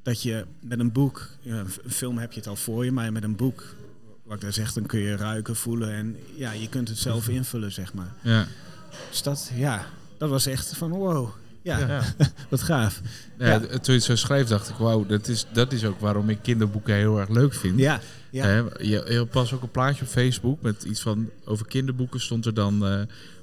Speaker 2: dat je met een boek, ja, een f- een film heb je het al voor je, maar met een boek, wat ik daar zeg, dan kun je ruiken, voelen en ja, je kunt het zelf invullen, zeg maar.
Speaker 3: Ja.
Speaker 2: Dus dat, ja, dat was echt van wow, ja,
Speaker 3: Ja.
Speaker 2: wat gaaf.
Speaker 3: Ja,
Speaker 2: Ja.
Speaker 3: d- Toen je het zo schreef, dacht ik, wauw, dat is, dat is ook waarom ik kinderboeken heel erg leuk vind.
Speaker 2: Ja, ja.
Speaker 3: Hè, je, je pas ook een plaatje op Facebook met iets van over kinderboeken stond er dan eh,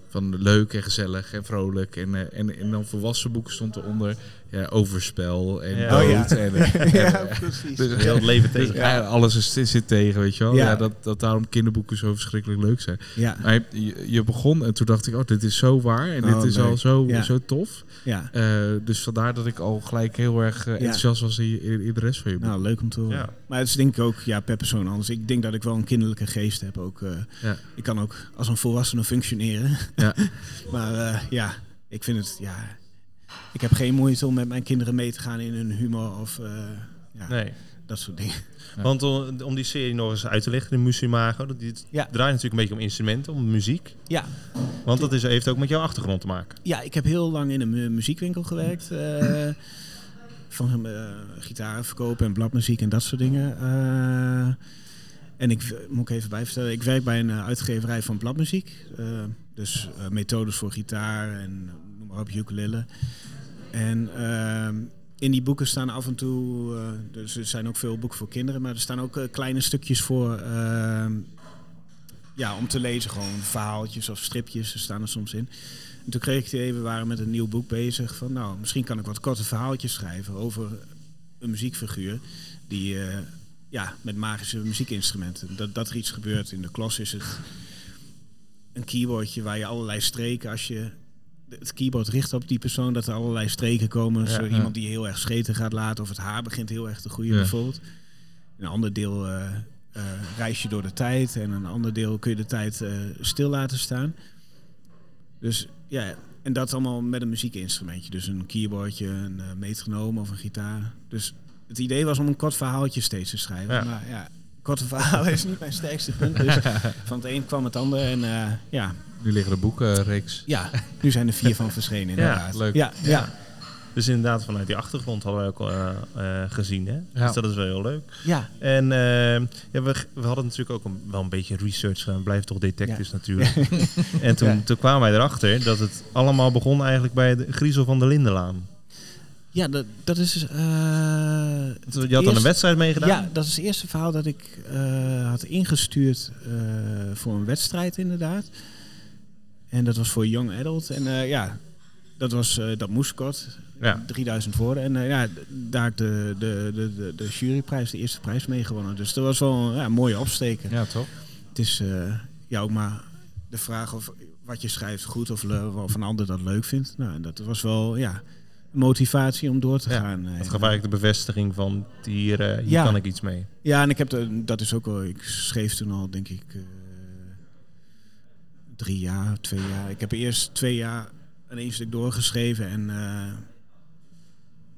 Speaker 3: van leuk en gezellig en vrolijk. En, eh, en, en dan volwassen boeken stond eronder ja, overspel en
Speaker 1: Ja.
Speaker 3: dood.
Speaker 1: Oh
Speaker 2: ja.
Speaker 3: En, eh, en,
Speaker 2: ja,
Speaker 3: eh,
Speaker 2: precies.
Speaker 3: dus-
Speaker 1: Heel het leven
Speaker 3: dus,
Speaker 1: tegen.
Speaker 3: ja, alles is, zit tegen, weet je wel. Ja.
Speaker 2: Ja.
Speaker 3: dat, dat daarom kinderboeken zo verschrikkelijk leuk zijn.
Speaker 2: Ja,
Speaker 3: Maar je- je, je begon en toen dacht ik, oh, dit is zo waar en
Speaker 2: Oh,
Speaker 3: dit is
Speaker 2: leuk.
Speaker 3: al zo,
Speaker 2: Ja.
Speaker 3: zo tof.
Speaker 2: ja.
Speaker 3: Eh, dus vandaar dat ik al gelijk heel erg eh, enthousiast was in, in, in de rest van je boek.
Speaker 2: Nou, leuk om te horen.
Speaker 1: Ja.
Speaker 2: Maar het is denk ik ook ja, per persoon anders. Ik denk dat ik wel een kinderlijke geest heb ook. eh.
Speaker 3: Ja.
Speaker 2: Ik kan ook als een volwassene functioneren.
Speaker 3: Ja.
Speaker 2: maar eh, ja, ik vind het, ja... Ik heb geen moeite om met mijn kinderen mee te gaan in hun humor of eh, ja,
Speaker 1: Nee.
Speaker 2: dat soort dingen.
Speaker 3: Ja.
Speaker 1: Want om, om die serie nog eens uit te leggen, de Musimago, dat die
Speaker 2: Ja.
Speaker 1: draait natuurlijk een beetje om instrumenten, om muziek.
Speaker 2: Ja,
Speaker 1: Want dat is, heeft ook met jouw achtergrond te maken.
Speaker 2: ja, ik heb heel lang in een mu- muziekwinkel gewerkt. eh, van eh, gitaren verkopen en bladmuziek en dat soort dingen. Eh, en ik w- moet ik even bijvertellen, ik werk bij een eh, uitgeverij van bladmuziek. Eh, dus eh, methodes voor gitaar en eh, noem maar op, ukulele. En ehm, in die boeken staan af en toe, eh, dus er zijn ook veel boeken voor kinderen, maar er staan ook eh, kleine stukjes voor ehm, ja, om te lezen. Gewoon verhaaltjes of stripjes, er staan er soms in. En toen kreeg ik het idee, we waren met een nieuw boek bezig. Van nou, misschien kan ik wat korte verhaaltjes schrijven over een muziekfiguur die eh, ja, met magische muziekinstrumenten. Dat, dat er iets gebeurt. In de klas is het een keyboardje waar je allerlei streken als je het keyboard richt op die persoon dat er allerlei streken komen. Zo
Speaker 3: ja.
Speaker 2: iemand die heel erg scheten gaat laten of het haar begint heel erg te groeien
Speaker 3: Ja.
Speaker 2: bijvoorbeeld. Een ander deel eh, eh, reis je door de tijd en een ander deel kun je de tijd eh, stil laten staan. Dus ja, en dat allemaal met een muziekinstrumentje. Dus een keyboardje, een eh, metronoom of een gitaar. Dus het idee was om een kort verhaaltje steeds te schrijven.
Speaker 1: Ja.
Speaker 2: Maar ja, korte verhalen is niet mijn sterkste punt. Dus van het een kwam het ander. En eh, ja,
Speaker 3: Nu liggen de boeken eh, reeks.
Speaker 2: ja, nu zijn er vier van verschenen
Speaker 1: Ja,
Speaker 2: inderdaad.
Speaker 3: leuk.
Speaker 2: Ja, ja.
Speaker 1: Dus inderdaad, vanuit die achtergrond hadden wij ook eh, eh, gezien. Hè?
Speaker 3: Ja.
Speaker 1: Dus dat is wel heel leuk.
Speaker 2: Ja,
Speaker 1: En eh, ja, we, we hadden natuurlijk ook een, wel een beetje research gedaan. Blijf toch detectives natuurlijk. en toen,
Speaker 2: Ja.
Speaker 1: toen kwamen wij erachter dat het allemaal begon eigenlijk bij de Griezel van de Lindenlaan.
Speaker 2: ja dat, dat is... dus, eh,
Speaker 1: Je had dan een
Speaker 2: Eerst-
Speaker 1: wedstrijd meegedaan?
Speaker 2: Ja, dat is het eerste verhaal dat ik eh, had ingestuurd eh, voor een wedstrijd inderdaad. En dat was voor Young Adult. En eh, ja, dat, was, eh, dat moest kort.
Speaker 1: Ja.
Speaker 2: 3000 woorden. En eh, ja, d- daar heb ik de, de, de, de, de juryprijs, de eerste prijs mee gewonnen. Dus dat was wel een ja, mooie opsteker.
Speaker 3: Ja, toch?
Speaker 2: Het is eh, ja, ook maar de vraag of wat je schrijft goed of, le- of een ander dat leuk vindt. Nou, en dat was wel ja, motivatie om door te
Speaker 1: Ja,
Speaker 2: gaan. eh.
Speaker 1: Dat gaf eigenlijk de bevestiging van hier, eh, hier
Speaker 2: Ja.
Speaker 1: kan ik iets mee.
Speaker 2: Ja, en ik heb de, dat is ook al. Ik schreef toen al, denk ik, eh, drie jaar, twee jaar. Ik heb eerst twee jaar aan één stuk doorgeschreven en eh,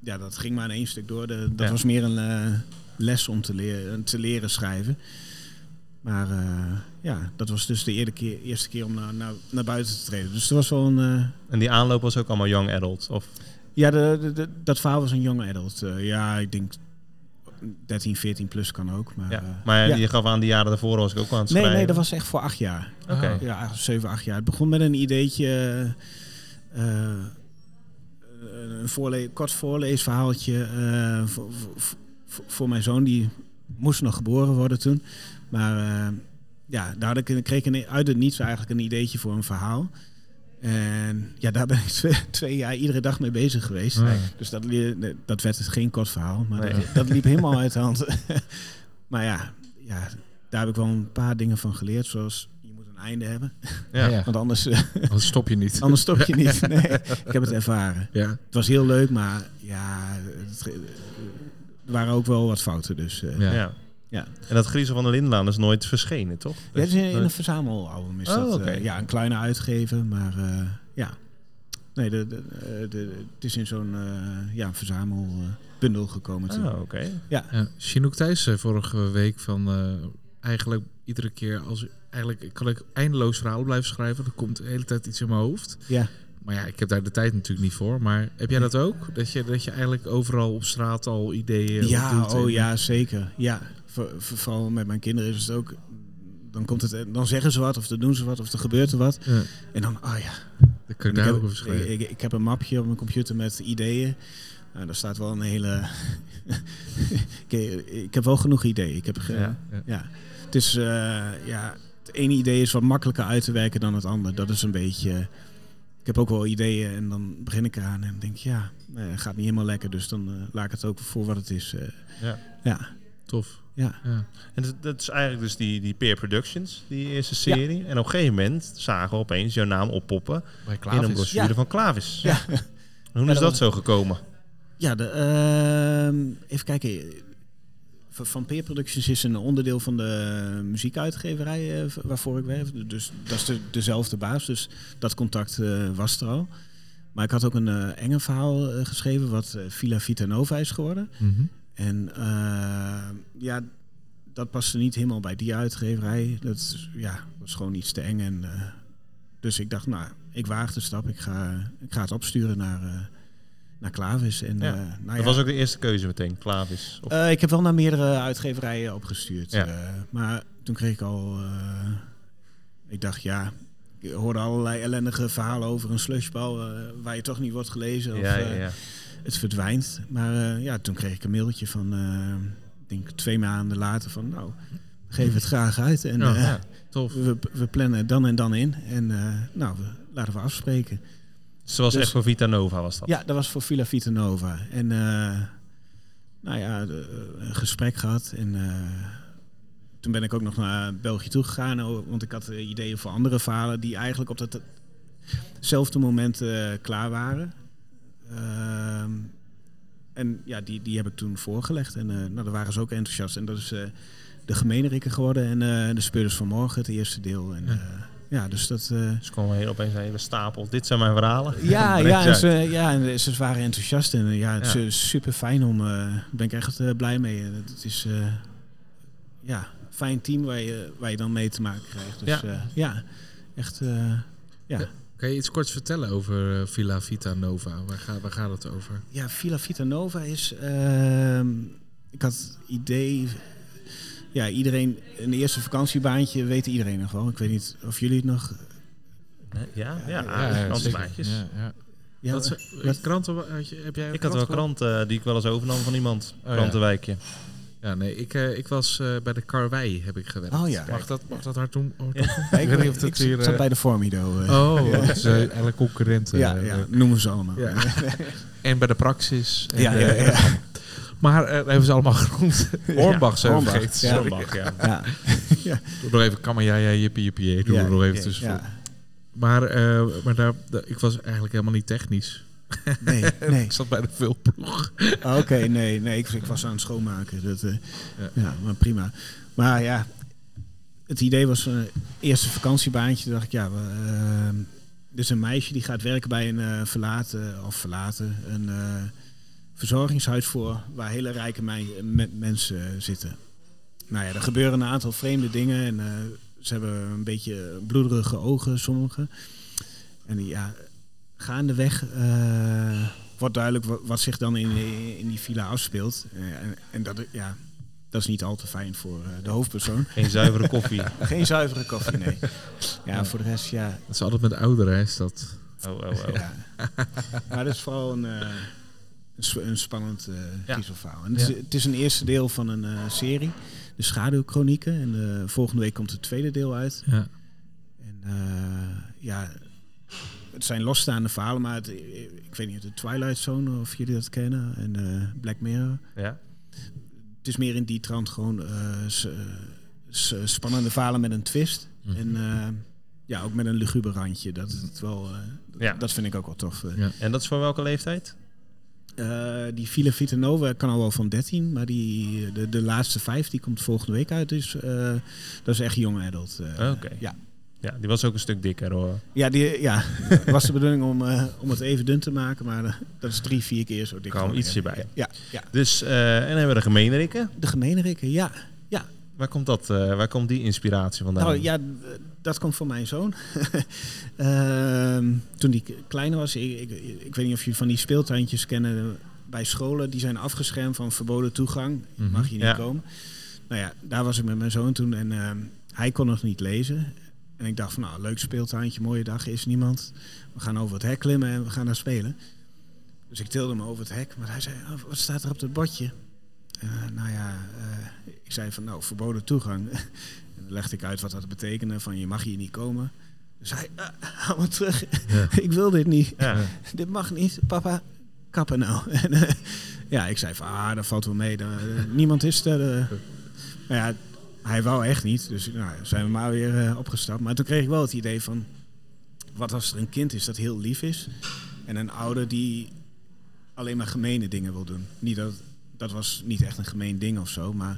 Speaker 2: ja, dat ging maar aan één stuk door. De- dat
Speaker 1: Ja.
Speaker 2: was meer een eh, les om te leren, te leren schrijven. Maar eh, ja, dat was dus de eerste keer, eerste keer om naar, naar, naar buiten te treden. Dus er was wel een. eh,
Speaker 1: En die aanloop was ook allemaal young adult. Of
Speaker 2: ja, de, de- de- dat verhaal was een jonge adult. Eh, ja, ik denk 13, 14 plus kan ook. Maar,
Speaker 1: Ja,
Speaker 2: eh,
Speaker 1: maar
Speaker 2: ja.
Speaker 1: je gaf aan, die jaren daarvoor was ik ook aan het
Speaker 2: Nee,
Speaker 1: schrijven.
Speaker 2: nee, dat was echt voor acht jaar.
Speaker 1: Oké.
Speaker 3: Ah.
Speaker 2: Ja, acht- zeven, acht jaar. Het begon met een ideetje, eh, eh, een voorle kort voorleesverhaaltje eh, voor, voor- voor- voor mijn zoon. Die moest nog geboren worden toen. Maar eh, ja, daar had ik, een- kreeg ik een- uit het niets eigenlijk een ideetje voor een verhaal. En ja, daar ben ik twee, twee jaar iedere dag mee bezig geweest.
Speaker 3: Ja.
Speaker 2: Dus dat, li- dat werd het geen kort verhaal, maar
Speaker 1: Nee.
Speaker 2: dat, dat liep helemaal uit de hand. maar ja, ja, daar heb ik wel een paar dingen van geleerd, zoals je moet een einde hebben.
Speaker 1: Ja.
Speaker 3: Ja.
Speaker 2: Want anders, eh,
Speaker 3: Dat stop je niet.
Speaker 2: anders stop je niet. Nee, ik heb het ervaren.
Speaker 3: Ja.
Speaker 2: Het was heel leuk, maar ja, het, er waren ook wel wat fouten. Dus, eh.
Speaker 3: Ja.
Speaker 1: Ja.
Speaker 2: Ja.
Speaker 1: En dat Griezel van de Lindenlaan is nooit verschenen, toch?
Speaker 2: Ja, het is in, in een verzamelalbum is
Speaker 1: Oh,
Speaker 2: dat. eh,
Speaker 1: oké.
Speaker 2: ja, een kleine uitgeven, maar eh, ja. Nee, de, de, eh, de- het is in zo'n eh, ja, verzamelbundel gekomen. toen.
Speaker 1: Oh, oké.
Speaker 3: Ja, Chinook Thijs eh, vorige week van eh, eigenlijk iedere keer als eigenlijk kan ik eindeloos verhalen blijven schrijven. Er komt de hele tijd iets in mijn hoofd.
Speaker 2: Ja.
Speaker 3: Maar ja, ik heb daar de tijd natuurlijk niet voor. Maar heb jij dat ook? Dat je, dat je eigenlijk overal op straat al ideeën
Speaker 2: Ja,
Speaker 3: opdoet en-
Speaker 2: oh ja, zeker. Ja, voor- voor- vooral met mijn kinderen is het ook. Dan, komt het, eh, dan zeggen ze wat, of dan doen ze wat, of er gebeurt er wat.
Speaker 3: Ja,
Speaker 2: En dan, oh ja.
Speaker 3: dat kan ik
Speaker 2: En
Speaker 3: daar
Speaker 2: ik,
Speaker 3: ook
Speaker 2: heb,
Speaker 3: over schrijven.
Speaker 2: ik, ik- ik heb een mapje op mijn computer met ideeën. Nou, daar staat wel een hele... ik, ik heb wel genoeg ideeën. Ik heb ge-
Speaker 1: Ja,
Speaker 2: ja,
Speaker 3: ja.
Speaker 2: Het is, eh, ja, het ene idee is wat makkelijker uit te werken dan het andere. Dat is een beetje... Ik heb ook wel ideeën en dan begin ik eraan en denk ja, nee, het gaat niet helemaal lekker. Dus dan eh, laat ik het ook voor wat het is. eh.
Speaker 1: Ja.
Speaker 2: ja.
Speaker 3: Tof.
Speaker 2: Ja.
Speaker 3: ja.
Speaker 1: En dat, dat is eigenlijk dus die, die Peer Productions, die eerste serie. En op een gegeven moment zagen we opeens jouw naam oppoppen
Speaker 3: Bij
Speaker 1: in een
Speaker 3: Klavis.
Speaker 1: brochure van Klavis.
Speaker 2: Ja.
Speaker 1: En Hoe is
Speaker 2: Ja, dat
Speaker 1: dat
Speaker 2: was- Ah,
Speaker 1: zo gekomen?
Speaker 2: Ja, de, ehm, even kijken. Van van Peer Productions is een onderdeel van de muziekuitgeverij eh, v- waarvoor ik werk. Dus dat is de, dezelfde baas. Dus dat contact eh, was er al. Maar ik had ook een eh enge verhaal eh, geschreven wat eh, Villa Vita Nova is geworden.
Speaker 3: Mhm.
Speaker 2: En eh, ja, dat paste niet helemaal bij die uitgeverij. Dat is- ja, was gewoon iets te eng. En, eh, dus ik dacht, nou, ik waag de stap. Ik ga, ik ga het opsturen naar, eh, naar Klavis. En,
Speaker 1: Ja,
Speaker 2: eh, nou ja,
Speaker 1: Dat was ook de eerste keuze meteen, Klavis. Of,
Speaker 2: eh, ik heb wel naar meerdere uitgeverijen opgestuurd.
Speaker 1: Ja.
Speaker 2: eh, maar toen kreeg ik al... eh, ik dacht, ja... Ik hoorde allerlei ellendige verhalen over een slushbal... eh, waar je toch niet wordt gelezen. Of,
Speaker 1: ja, ja,
Speaker 2: eh,
Speaker 1: ja.
Speaker 2: het verdwijnt. Maar eh, ja, toen kreeg ik een mailtje van, eh, ik denk twee maanden later van, nou, geef het graag uit. En
Speaker 3: Ja,
Speaker 2: eh,
Speaker 3: ja, tof.
Speaker 2: we, we plannen het dan en dan in. En eh, nou, we, laten we afspreken.
Speaker 1: Dus het was
Speaker 2: dus-
Speaker 1: echt voor Vita Nova was dat.
Speaker 2: Ja, dat was voor Villa Vita Nova. En eh, nou ja, de- een gesprek gehad. En eh, toen ben ik ook nog naar België toegegaan. o- Want ik had eh, ideeën voor andere verhalen die eigenlijk op dat- datzelfde moment eh, klaar waren. Ehm, en ja, die, die heb ik toen voorgelegd. En eh, nou, daar waren ze ook enthousiast. En dat is eh, de gemeenerikken geworden. En eh, de speurders van morgen, het eerste deel. En,
Speaker 3: Ja.
Speaker 2: ja. ja, dus dat... eh,
Speaker 1: Dus kwam er heel opeens een hele stapel. Dit zijn mijn verhalen.
Speaker 2: ja,
Speaker 1: Breekt
Speaker 2: ja, en
Speaker 1: uit.
Speaker 2: ze, ja, en ze waren enthousiast en eh, ja, het
Speaker 1: Ja.
Speaker 2: is super fijn om. eh, Daar ben ik echt eh, blij mee. Eh, Het is eh, ja, een fijn team waar je, waar je dan mee te maken krijgt.
Speaker 1: Ja.
Speaker 2: Dus ja, ja echt. eh, ja.
Speaker 3: Kan je iets korts vertellen over eh, Villa Vita Nova? Waar, ga, waar gaat het over?
Speaker 2: Ja, Villa Vitanova is. ehm, ik had het idee. Ja, iedereen. Een eerste vakantiebaantje weet iedereen nog wel. Ik weet niet of jullie het nog.
Speaker 1: Hè? Ja, ja,
Speaker 2: Ja,
Speaker 1: ja,
Speaker 3: zeker.
Speaker 1: krantenbaantjes.
Speaker 3: Ja, ja.
Speaker 2: Ja,
Speaker 3: Wat
Speaker 2: eh,
Speaker 3: ze- kranten, had je- heb jij een
Speaker 1: Ik had wel
Speaker 3: krant
Speaker 1: kranten eh, die ik wel eens overnam van iemand.
Speaker 2: Oh,
Speaker 3: ja.
Speaker 1: krantenwijkje.
Speaker 3: Ja, nee, ik, eh, ik was eh, bij de Karwei, heb ik gewerkt.
Speaker 2: Oh ja.
Speaker 3: Mag dat, mag dat hard doen? hard doen?
Speaker 2: ik,
Speaker 3: weet niet of dat
Speaker 2: ik zat-
Speaker 3: hier, eh,
Speaker 2: zat bij de Formido. eh.
Speaker 3: Oh, dat is eh, eigenlijk concurrenten.
Speaker 2: ja,
Speaker 3: eh,
Speaker 2: ja, noemen ze allemaal.
Speaker 3: Ja. En bij de Praxis. En,
Speaker 2: Ja, ja,
Speaker 3: eh,
Speaker 2: ja.
Speaker 3: Maar eh, dat hebben ze allemaal genoemd. Hornbach zijn we
Speaker 2: Hornbach,
Speaker 3: vergeten.
Speaker 2: ja.
Speaker 3: sorry.
Speaker 1: Zondag, ja.
Speaker 2: ja.
Speaker 3: Doe nog even kamerjaja, jippie jippie. jee. Doe
Speaker 2: Ja,
Speaker 3: er nog even
Speaker 1: ja,
Speaker 3: tussen.
Speaker 2: ja.
Speaker 3: Maar, eh, maar daar, daar- ik was eigenlijk helemaal niet technisch.
Speaker 2: Nee, Eh, nee. Ah,
Speaker 3: Ik zat bij de vulploeg.
Speaker 2: Oké, nee, nee. Ik, ik was aan het schoonmaken. Dat, eh,
Speaker 3: Ja.
Speaker 2: ja. maar prima. Maar ja, het idee was een eerste vakantiebaantje. Toen dacht ik, ja, we, ehm, dus een meisje die gaat werken bij een eh, verlaten of verlaten een eh, verzorgingshuis voor waar hele rijke mei- me- mensen zitten. Nou ja, er gebeuren een aantal vreemde dingen en eh, ze hebben een beetje bloederige ogen, sommigen. En die, ja, gaandeweg eh wordt duidelijk wa- wat zich dan in, eh, in die villa afspeelt. Eh, en en dat, ja, dat is niet al te fijn voor eh, de hoofdpersoon.
Speaker 1: Geen zuivere koffie.
Speaker 2: Geen zuivere koffie, nee. Ja, voor de rest, ja.
Speaker 3: Dat is altijd met ouderen, hè, is dat.
Speaker 1: Oh, oh, oh.
Speaker 2: ja. Maar dat is vooral een, eh, een, sp- een spannend eh
Speaker 1: Ja.
Speaker 2: titelverhaal. En het, is, het is een eerste deel van een eh, serie, de Schaduwchronieken. En eh, volgende week komt het tweede deel uit.
Speaker 3: Ja.
Speaker 2: En eh, ja, het zijn losstaande verhalen, maar het, eh, ik weet niet, de Twilight Zone of jullie dat kennen en eh, Black Mirror.
Speaker 1: Ja.
Speaker 2: Het is meer in die trant gewoon eh, s- eh, s- eh, spannende verhalen met een twist.
Speaker 3: Mhm.
Speaker 2: En eh, ja, ook met een luguber randje. Dat, is het wel, eh,
Speaker 1: Ja.
Speaker 2: dat vind ik ook wel tof. eh.
Speaker 3: Ja.
Speaker 1: En dat is voor welke leeftijd?
Speaker 2: Eh, die Villa Vitanova kan al wel van 13, maar die, eh, de, de laatste vijf die komt volgende week uit. Dus eh, dat is echt jong adult. eh.
Speaker 1: Oh, Oké.
Speaker 2: ja.
Speaker 1: Ja, die was ook een stuk dikker hoor.
Speaker 2: Ja, die, eh, ja, was de bedoeling om, eh, om het even dun te maken, maar eh, dat is drie, vier keer zo dik.
Speaker 1: Kwam
Speaker 2: geworden.
Speaker 1: ietsje bij.
Speaker 2: Ja, ja.
Speaker 1: Dus, eh, en dan hebben we de gemeenrikken.
Speaker 2: De gemeenerikken, ja.
Speaker 1: Waar komt, dat, eh, waar komt die inspiratie vandaan?
Speaker 2: Nou ja, d- dat komt van mijn zoon. Ehm, toen die k- klein was, ik, ik, ik weet niet of jullie van die speeltuintjes kennen bij scholen, die zijn afgeschermd van verboden toegang.
Speaker 3: Mhm.
Speaker 2: mag je niet
Speaker 1: Ja.
Speaker 2: komen. Nou ja, daar was ik met mijn zoon toen en ehm, hij kon nog niet lezen. En ik dacht van nou, leuk speeltuintje, mooie dag, is niemand. We gaan over het hek klimmen en we gaan daar spelen. Dus ik tilde hem over het hek, maar hij zei, "Oh, wat staat er op dat bordje? Eh, nou ja, eh, ik zei van nou, verboden toegang. en dan legde ik uit wat dat betekende, van je mag hier niet komen. Dus hij, "Ah, haal me terug,
Speaker 3: Ja.
Speaker 2: ik wil dit niet
Speaker 1: ja.
Speaker 2: dit mag niet, papa, kappen nou. En, eh, ja, ik zei van, ah, dat valt wel mee. dan, eh, niemand is er. eh. Maar ja, hij wou echt niet, dus nou, zijn we maar weer eh, opgestapt. Maar toen kreeg ik wel het idee van, wat als er een kind is dat heel lief is... en een ouder die alleen maar gemene dingen wil doen. Niet dat, dat was niet echt een gemeen ding of zo, maar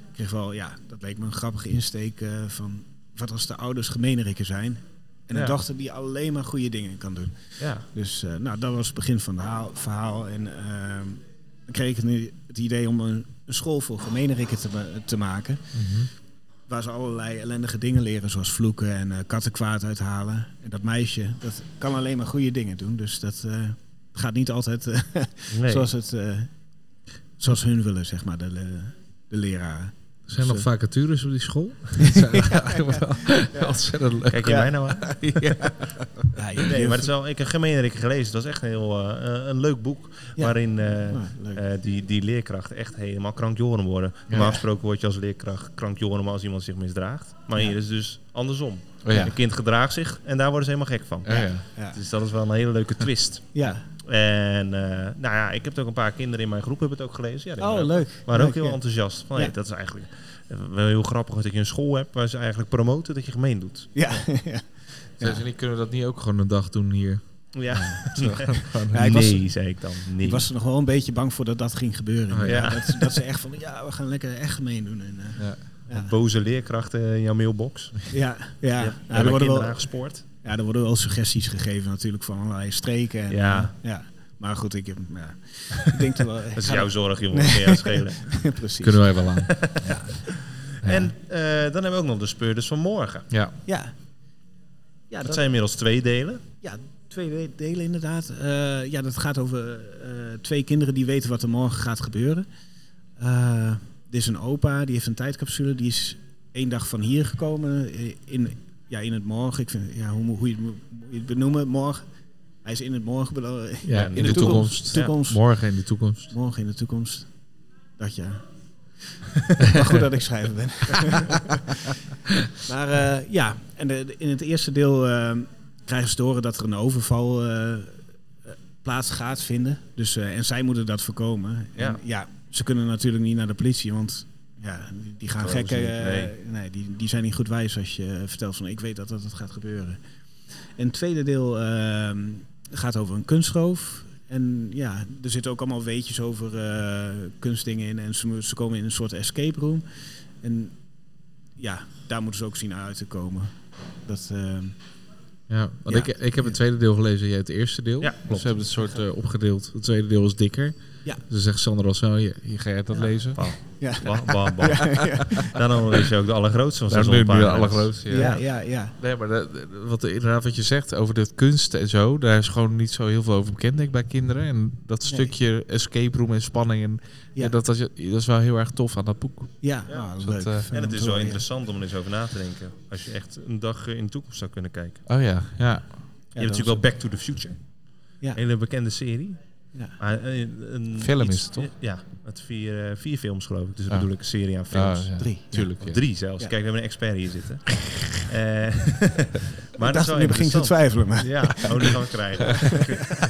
Speaker 2: ik kreeg wel, ja, dat leek me een grappige insteek eh, van... wat als de ouders gemeenerikken zijn... En een
Speaker 1: Ja.
Speaker 2: dochter die alleen maar goede dingen kan doen.
Speaker 1: ja.
Speaker 2: Dus eh, nou, dat was het begin van het haal- verhaal. En ehm, dan kreeg ik nu het idee om een, een school voor gemeenerikken te, ma- te maken.
Speaker 3: Mhm.
Speaker 2: Waar ze allerlei ellendige dingen leren, zoals vloeken en eh kattenkwaad uithalen. En dat meisje, dat kan alleen maar goede dingen doen. Dus dat eh, gaat niet altijd eh,
Speaker 1: Nee.
Speaker 2: zoals, het, eh, zoals hun willen, zeg maar, de, le- de leraren.
Speaker 3: Er zijn nog
Speaker 2: eh,
Speaker 3: vacatures op die school. Dat zijn eigenlijk wel ontzettend leuk.
Speaker 1: Kijk je
Speaker 2: Ja.
Speaker 1: mij nou aan?
Speaker 2: Ja, je-
Speaker 1: Nee,
Speaker 2: je-
Speaker 1: maar het is wel, ik heb gemeenrikken gelezen. Dat is echt een heel eh, een leuk boek.
Speaker 2: Ja.
Speaker 1: Waarin eh,
Speaker 2: Nou, leuk.
Speaker 1: eh, die, die leerkrachten echt helemaal krankjoren worden. Normaal gesproken word je als leerkracht krankjoren als iemand zich misdraagt. Maar
Speaker 2: Ja.
Speaker 1: hier is het dus andersom.
Speaker 3: Oh, ja.
Speaker 1: Een kind gedraagt zich en daar worden ze helemaal gek van.
Speaker 3: Oh, ja.
Speaker 2: ja.
Speaker 1: Dus dat is wel een hele leuke twist.
Speaker 2: ja.
Speaker 1: En eh, nou ja, ik heb het ook een paar kinderen in mijn groep hebben het ook gelezen. Ja, die
Speaker 2: Oh,
Speaker 1: waren-
Speaker 2: leuk.
Speaker 1: waren ook
Speaker 2: Leuk,
Speaker 1: heel
Speaker 2: ja.
Speaker 1: enthousiast. Van,
Speaker 2: Ja.
Speaker 1: hey, dat is eigenlijk eh, wel heel grappig dat je een school hebt waar ze eigenlijk promoten dat je gemeen doet.
Speaker 2: Ja, ja.
Speaker 3: Zeiden ze niet, kunnen we dat niet ook gewoon een dag doen hier?
Speaker 1: Ja.
Speaker 2: Ja, ik was-
Speaker 1: nee, zei ik dan. Nee.
Speaker 2: Ik was er nog wel een beetje bang voor dat dat ging gebeuren.
Speaker 1: ja.
Speaker 3: Oh,
Speaker 2: ja. dat, dat ze echt van, ja, we gaan lekker echt gemeen doen. En, eh,
Speaker 3: Ja.
Speaker 2: ja.
Speaker 1: Boze leerkrachten in jouw mailbox.
Speaker 2: Ja, ja.
Speaker 1: Ja,
Speaker 2: ja, er worden wel,
Speaker 1: aangespoord.
Speaker 2: ja, er worden wel suggesties gegeven natuurlijk van allerlei streken. En,
Speaker 1: Ja.
Speaker 2: eh, ja. Maar goed, ik, heb- ja. ik denk er wel...
Speaker 1: Dat is jouw zorg, jongen. Nee. Ja, schelen.
Speaker 2: Precies.
Speaker 3: Kunnen wij wel aan.
Speaker 1: En eh, dan hebben we ook nog de speurders van morgen.
Speaker 3: Ja.
Speaker 2: Ja. Ja,
Speaker 1: Dat
Speaker 2: dat-
Speaker 1: zijn inmiddels twee delen.
Speaker 2: Ja, twee we- delen inderdaad. Eh, ja, dat gaat over eh, twee kinderen die weten wat er morgen gaat gebeuren. Eh, er is een opa, die heeft een tijdcapsule. Die is één dag van hier gekomen. eh, In, ja, in het morgen. Ik vind, ja, hoe, moet- hoe je het moet- moet je het benoemen, morgen. Hij is in het morgen. belo-
Speaker 3: Ja, in, de, toekomst.
Speaker 2: Toekomst.
Speaker 3: Morgen in de toekomst.
Speaker 2: Morgen in de toekomst. Dat ja. maar goed dat ik schrijver ben. maar eh, ja, en de- de- in het eerste deel eh, krijgen ze te horen dat er een overval eh, eh, plaats gaat vinden. Dus, eh, en zij moeten dat voorkomen.
Speaker 1: Ja.
Speaker 2: En, ja, ze kunnen natuurlijk niet naar de politie, want ja, die- die gaan
Speaker 1: Geloven
Speaker 2: gekken.
Speaker 1: ze niet,
Speaker 2: eh,
Speaker 1: nee.
Speaker 2: nee, die, die zijn niet goed wijs als je eh, vertelt van ik weet dat dat, dat gaat gebeuren. En het tweede deel eh, gaat over een kunstroof. En ja, er zitten ook allemaal weetjes over eh, kunstdingen in. En ze, mo- ze komen in een soort escape room. En ja, daar moeten ze ook zien uit te komen. Dat, eh,
Speaker 3: Ja, want
Speaker 2: Ja.
Speaker 3: Ik, ik heb het tweede deel gelezen en jij het eerste deel.
Speaker 1: Ja,
Speaker 3: Dus
Speaker 1: klopt.
Speaker 3: we hebben het soort eh, opgedeeld. Het tweede deel is dikker.
Speaker 2: Ja.
Speaker 3: Dus zegt Sander al zo, hier, hier ga jij dat lezen.
Speaker 1: Bam,
Speaker 2: ja.
Speaker 1: bam, bam, bam. Daarom lees je ook de allergrootste van
Speaker 3: Dat is
Speaker 1: zo'n
Speaker 3: nu nu de
Speaker 1: pagina's.
Speaker 3: allergrootste. Ja.
Speaker 2: ja, ja, ja.
Speaker 3: Nee, maar dat- wat, inderdaad wat je zegt over de kunst en zo, daar is gewoon niet zo heel veel over bekend denk ik, bij kinderen. En dat
Speaker 2: Nee.
Speaker 3: stukje escape room en spanning, en,
Speaker 2: Ja.
Speaker 3: ja, dat, dat, is- dat is wel heel erg tof aan dat boek.
Speaker 2: Ja,
Speaker 1: Ja,
Speaker 2: ah,
Speaker 3: dus
Speaker 2: leuk.
Speaker 3: dat, eh,
Speaker 1: En het is wel
Speaker 2: Ja.
Speaker 1: interessant om er eens over na te denken. Als je echt een dag eh, in de toekomst zou kunnen kijken.
Speaker 3: Oh ja, ja.
Speaker 1: je hebt natuurlijk wel Back to the Future.
Speaker 2: Ja.
Speaker 1: Hele bekende serie.
Speaker 2: Ja.
Speaker 1: Maar, eh, een, eh,
Speaker 3: Film is het, toch?
Speaker 1: Ja, met vier, eh, vier films geloof ik. Dus
Speaker 3: Ah.
Speaker 1: dat bedoel ik een serie aan films.
Speaker 3: Oh, ja.
Speaker 2: Drie.
Speaker 3: Tuurlijk.
Speaker 1: Of
Speaker 3: ja.
Speaker 1: drie zelfs.
Speaker 2: Ja.
Speaker 1: Kijk, we hebben een expert hier zitten. Eh, maar
Speaker 2: Maar ik dacht dat nu begin ik te
Speaker 1: interessant.
Speaker 2: twijfelen. Maar.
Speaker 1: Ja, oh, die gaan we krijgen.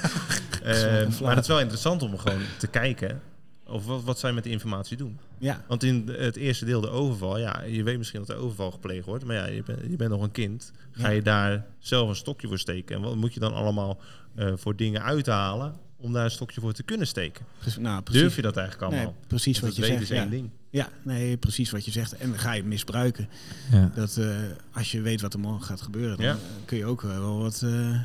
Speaker 1: Eh, maar het is wel interessant om gewoon te kijken of wat, wat zij met de informatie doen.
Speaker 2: Ja,
Speaker 1: Want in het eerste deel, de overval, ja, je weet misschien dat de overval gepleegd wordt, maar ja, je, bent- je bent nog een kind. Ga je daar zelf een stokje voor steken? En wat moet je dan allemaal eh, voor dingen uithalen om daar een stokje voor te kunnen steken?
Speaker 2: pre- nou, precies.
Speaker 1: Durf je dat eigenlijk
Speaker 2: nee,
Speaker 1: allemaal?
Speaker 2: precies wat
Speaker 1: Want
Speaker 2: je
Speaker 1: het
Speaker 2: zegt.
Speaker 1: weten is
Speaker 2: Ja.
Speaker 1: één ding.
Speaker 2: ja, nee, precies wat je zegt. En dan ga je het misbruiken.
Speaker 3: Ja.
Speaker 2: Dat eh, als je weet wat er morgen gaat gebeuren, dan
Speaker 1: Ja.
Speaker 2: eh, kun je ook eh, wel wat eh,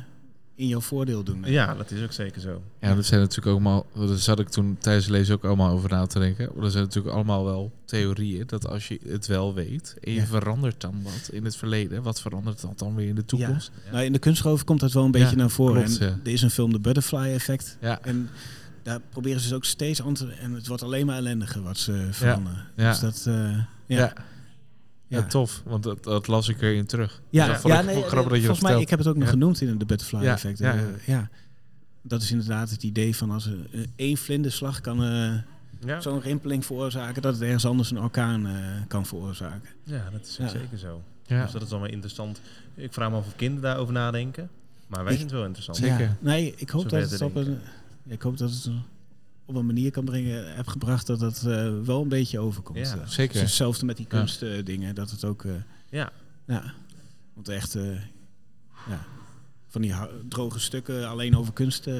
Speaker 2: in jouw voordeel doen.
Speaker 1: Ja, dat is ook zeker zo.
Speaker 3: Ja, dat zijn natuurlijk allemaal, daar zat ik toen tijdens het lezen ook allemaal over na te denken. Maar dat zijn natuurlijk allemaal wel theorieën dat als je het wel weet en je
Speaker 2: Ja.
Speaker 3: verandert dan wat in het verleden, wat verandert dat dan weer in de toekomst?
Speaker 2: Nou, in de kunstroof komt dat wel een
Speaker 3: Ja,
Speaker 2: beetje naar voren.
Speaker 3: klopt,
Speaker 2: en
Speaker 3: ja.
Speaker 2: Er is een film, The Butterfly Effect.
Speaker 3: Ja,
Speaker 2: En daar proberen ze dus ook steeds aan te... En het wordt alleen maar ellendiger wat ze veranderen.
Speaker 3: ja.
Speaker 2: Dus dat... eh,
Speaker 3: ja.
Speaker 2: ja.
Speaker 3: Ja, tof, want dat, dat las ik erin terug.
Speaker 2: Ja,
Speaker 3: dat
Speaker 2: ja,
Speaker 3: vond ik
Speaker 2: nee,
Speaker 3: ook grappig dat je dat
Speaker 2: volgens mij,
Speaker 3: vertelt.
Speaker 2: ik heb het ook nog
Speaker 3: Ja.
Speaker 2: genoemd in de butterfly
Speaker 3: Ja,
Speaker 2: effect.
Speaker 3: ja,
Speaker 2: Ja,
Speaker 3: ja.
Speaker 2: ja. Dat is inderdaad het idee van als een- een- één vlinderslag kan eh,
Speaker 1: Ja,
Speaker 2: zo'n rimpeling veroorzaken, dat het ergens anders een orkaan eh, kan veroorzaken.
Speaker 1: ja dat is ook
Speaker 2: Ja.
Speaker 1: zeker zo.
Speaker 3: Ja,
Speaker 1: Dus dat is dan wel interessant. Ik vraag me af of kinderen daarover nadenken. Maar wij
Speaker 2: Ik-
Speaker 1: vinden het wel interessant.
Speaker 3: Zeker.
Speaker 2: Ja. Nee, ik hoop
Speaker 1: Zover
Speaker 2: dat
Speaker 1: te
Speaker 2: het op
Speaker 1: denken.
Speaker 2: een, ja, ik hoop dat het op een manier kan brengen, heb gebracht dat het eh, wel een beetje overkomt.
Speaker 1: Ja.
Speaker 2: Eh, het is
Speaker 3: zeker.
Speaker 2: hetzelfde met die
Speaker 3: Ja.
Speaker 2: kunstdingen, dat het ook. eh,
Speaker 1: Ja.
Speaker 2: ja. Want echt, eh, ja, van die hou- droge stukken alleen over kunst eh,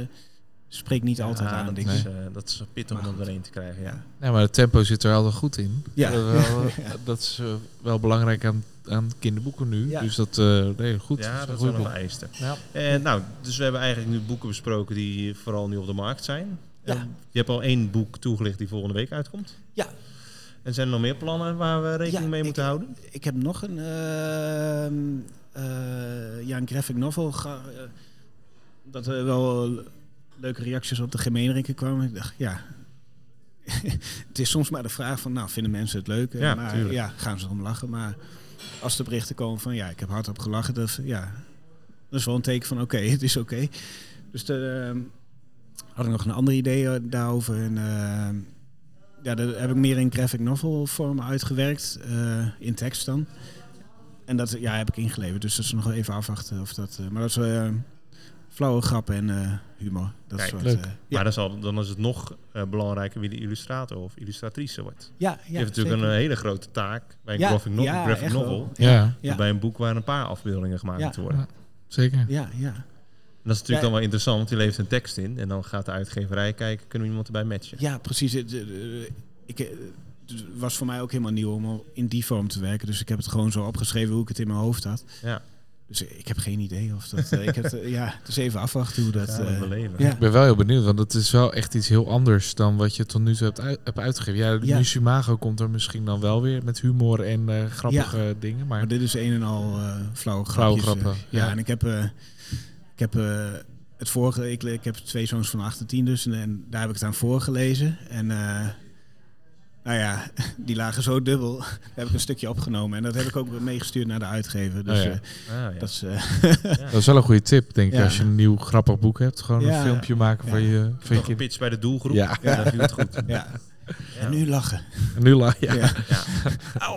Speaker 2: spreekt niet altijd
Speaker 1: Ja,
Speaker 2: aan.
Speaker 1: dat,
Speaker 2: denk ik.
Speaker 1: is, eh, dat is pittig om
Speaker 2: Maar
Speaker 1: dat
Speaker 2: goed.
Speaker 1: doorheen te krijgen. Ja.
Speaker 3: Ja, maar het tempo zit er altijd goed in.
Speaker 2: Ja.
Speaker 3: Dat, is wel- dat is eh, wel belangrijk aan, aan kinderboeken nu.
Speaker 2: Ja.
Speaker 3: Dus dat, eh nee, goed.
Speaker 1: ja,
Speaker 3: een
Speaker 1: dat is
Speaker 3: goed
Speaker 1: wel een
Speaker 3: boek.
Speaker 1: vereiste.
Speaker 3: Ja.
Speaker 1: Eh, nou, dus we hebben eigenlijk nu boeken besproken die vooral nu op de markt zijn.
Speaker 2: Ja.
Speaker 1: Eh, je hebt al één boek toegelicht die volgende week uitkomt.
Speaker 2: Ja.
Speaker 1: En zijn er nog meer plannen waar we rekening
Speaker 2: Ja,
Speaker 1: mee
Speaker 2: ik-
Speaker 1: moeten houden?
Speaker 2: Ik heb nog een, ehm, eh, ja, een graphic novel. Ga, eh, dat er wel leuke reacties op de gemeenrinken kwamen. Ik dacht, ja. het is soms maar de vraag van, nou, vinden mensen het leuk? Eh,
Speaker 1: Ja,
Speaker 2: maar,
Speaker 1: tuurlijk.
Speaker 2: ja, gaan ze erom lachen? Maar als de berichten komen van, ja, ik heb hardop gelachen. Dat, ja, dat is wel een teken van, oké, het is oké. Dus de, ehm, had ik nog een ander idee eh, daarover. En, ehm, ja, dat heb ik meer in graphic novel vorm uitgewerkt, eh, in tekst dan. En dat ja, heb ik ingeleverd, dus dat is nog wel even afwachten. Of dat, eh, maar dat is eh, flauwe grappen en eh, humor. Dat
Speaker 1: Kijk,
Speaker 2: soort,
Speaker 3: leuk.
Speaker 2: eh,
Speaker 1: Maar
Speaker 2: ja,
Speaker 1: dan, zal, dan is het nog eh, belangrijker wie de illustrator of illustratrice wordt.
Speaker 2: ja, ja,
Speaker 1: je hebt natuurlijk
Speaker 2: zeker.
Speaker 1: een hele grote taak bij een
Speaker 2: Ja,
Speaker 1: graphic, no-
Speaker 2: ja,
Speaker 1: graphic
Speaker 2: echt wel.
Speaker 1: novel.
Speaker 3: Ja,
Speaker 2: Ja.
Speaker 1: Bij een boek waar een paar afbeeldingen gemaakt
Speaker 2: Ja.
Speaker 1: moeten worden.
Speaker 3: Ja. zeker.
Speaker 2: Ja, ja.
Speaker 1: En dat is natuurlijk dan
Speaker 2: Ja.
Speaker 1: wel interessant, want je levert een tekst in. En dan gaat de uitgeverij kijken, kunnen we iemand erbij matchen?
Speaker 2: ja, precies. Het, eh, eh, ik, eh, het was voor mij ook helemaal nieuw om al in die vorm te werken. Dus ik heb het gewoon zo opgeschreven hoe ik het in mijn hoofd had.
Speaker 1: Ja.
Speaker 2: Dus ik heb geen idee of dat. eh, ik heb, eh, ja, dus even afwachten hoe dat.
Speaker 1: Ja,
Speaker 2: eh,
Speaker 1: we leven.
Speaker 2: ja.
Speaker 3: Ik ben wel heel benieuwd, want het is wel echt iets heel anders dan wat je tot nu toe hebt, uit, hebt uitgegeven. Ja,
Speaker 2: Ja.
Speaker 3: ja. Sumago komt er misschien dan wel weer met humor en eh, grappige dingen. Maar
Speaker 2: Maar dit is een en al eh flauwe grapjes.
Speaker 3: grappen,
Speaker 2: eh. Ja,
Speaker 3: ja.
Speaker 2: en ik heb, eh, ik heb eh, het vorige, ik, ik heb twee zoons van 8 en 10 dus en, en daar heb ik het aan voorgelezen. En eh, nou ja, die lagen zo dubbel. Daar heb ik een stukje opgenomen en dat heb ik ook meegestuurd naar de uitgever. Dus
Speaker 3: Oh ja.
Speaker 2: eh,
Speaker 1: Ah, ja.
Speaker 2: dat is, eh,
Speaker 3: dat is wel een goede tip, denk ik.
Speaker 2: Ja.
Speaker 3: Als je een nieuw grappig boek hebt, gewoon
Speaker 2: Ja.
Speaker 3: een filmpje maken
Speaker 2: Ja.
Speaker 3: van je, van je
Speaker 1: Nog een
Speaker 3: kind.
Speaker 1: pitch bij de doelgroep.
Speaker 3: Ja,
Speaker 1: Ja, dat viel het goed.
Speaker 2: ja.
Speaker 1: Ja.
Speaker 2: En nu lachen.
Speaker 3: En nu la. Ja.
Speaker 2: Ja.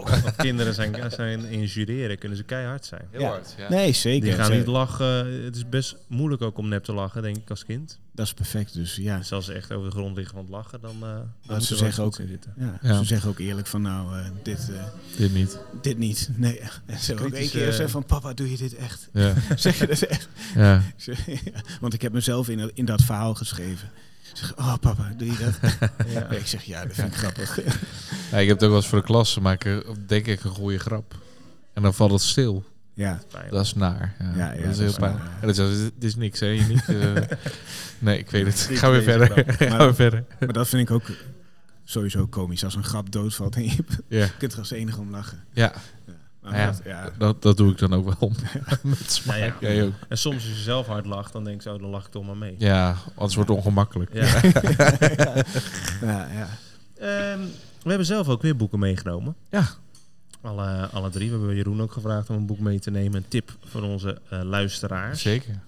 Speaker 1: Want kinderen zijn, zijn in jureren, kunnen ze keihard zijn.
Speaker 3: Heel
Speaker 2: Ja.
Speaker 3: hard, ja.
Speaker 2: Nee, zeker.
Speaker 1: Die gaan
Speaker 2: Eh,
Speaker 1: niet lachen. Het is best moeilijk ook om nep te lachen, denk ik, als kind.
Speaker 2: Dat is perfect, dus ja.
Speaker 1: Dus als ze echt over de grond liggen van het lachen, dan... eh, dan moet
Speaker 2: ze
Speaker 1: er wel
Speaker 2: zeggen
Speaker 1: iets
Speaker 2: ook-
Speaker 1: in zitten.
Speaker 2: Ja,
Speaker 3: Ja.
Speaker 2: Ze zeggen ook eerlijk van nou, eh, dit, eh,
Speaker 3: Dit niet.
Speaker 2: dit niet. Nee. En ze hebben ook één
Speaker 1: Kritische-
Speaker 2: keer gezegd van papa, doe je dit echt?
Speaker 3: Ja.
Speaker 2: zeg je dat echt?
Speaker 3: ja.
Speaker 2: Ik zeg, ja, Want ik heb mezelf in, dat- in dat verhaal geschreven. Ik zeg, oh papa, doe je dat?
Speaker 1: Ja.
Speaker 2: Ik zeg, ja, dat vind ik grappig.
Speaker 3: Ja, ik heb het ook wel eens voor de klas, dan maak ik er, denk ik een goede grap. En dan valt het stil.
Speaker 2: Ja,
Speaker 1: Pijnlijk.
Speaker 3: Dat is naar. Ja,
Speaker 2: Ja, ja,
Speaker 3: dat is heel pijn.
Speaker 2: naar, ja.
Speaker 3: En dat is, dit is niks, hè? Je niet, eh, nee, ik weet het.
Speaker 1: Niet
Speaker 3: Ga weer
Speaker 1: deze
Speaker 3: verder. Ga weer verder.
Speaker 2: maar dat vind ik ook sowieso komisch. Als een grap doodvalt en je
Speaker 3: Ja,
Speaker 2: kunt er als enige om lachen.
Speaker 3: ja,
Speaker 2: Maar
Speaker 3: Ja.
Speaker 2: dat- ja.
Speaker 3: dat, dat doe ik dan ook wel. Met smaak.
Speaker 1: Ja, ja.
Speaker 3: Jij ook.
Speaker 1: En soms als je zelf hard lacht, dan denk je, oh, dan lach ik toch maar mee.
Speaker 3: Ja, anders wordt het ongemakkelijk.
Speaker 1: Ja.
Speaker 2: Ja, ja.
Speaker 1: Ehm, we hebben zelf ook weer boeken meegenomen.
Speaker 3: Ja.
Speaker 1: Alle, alle drie. We hebben Jeroen ook gevraagd om een boek mee te nemen. Een tip voor onze eh, luisteraars.
Speaker 3: Zeker.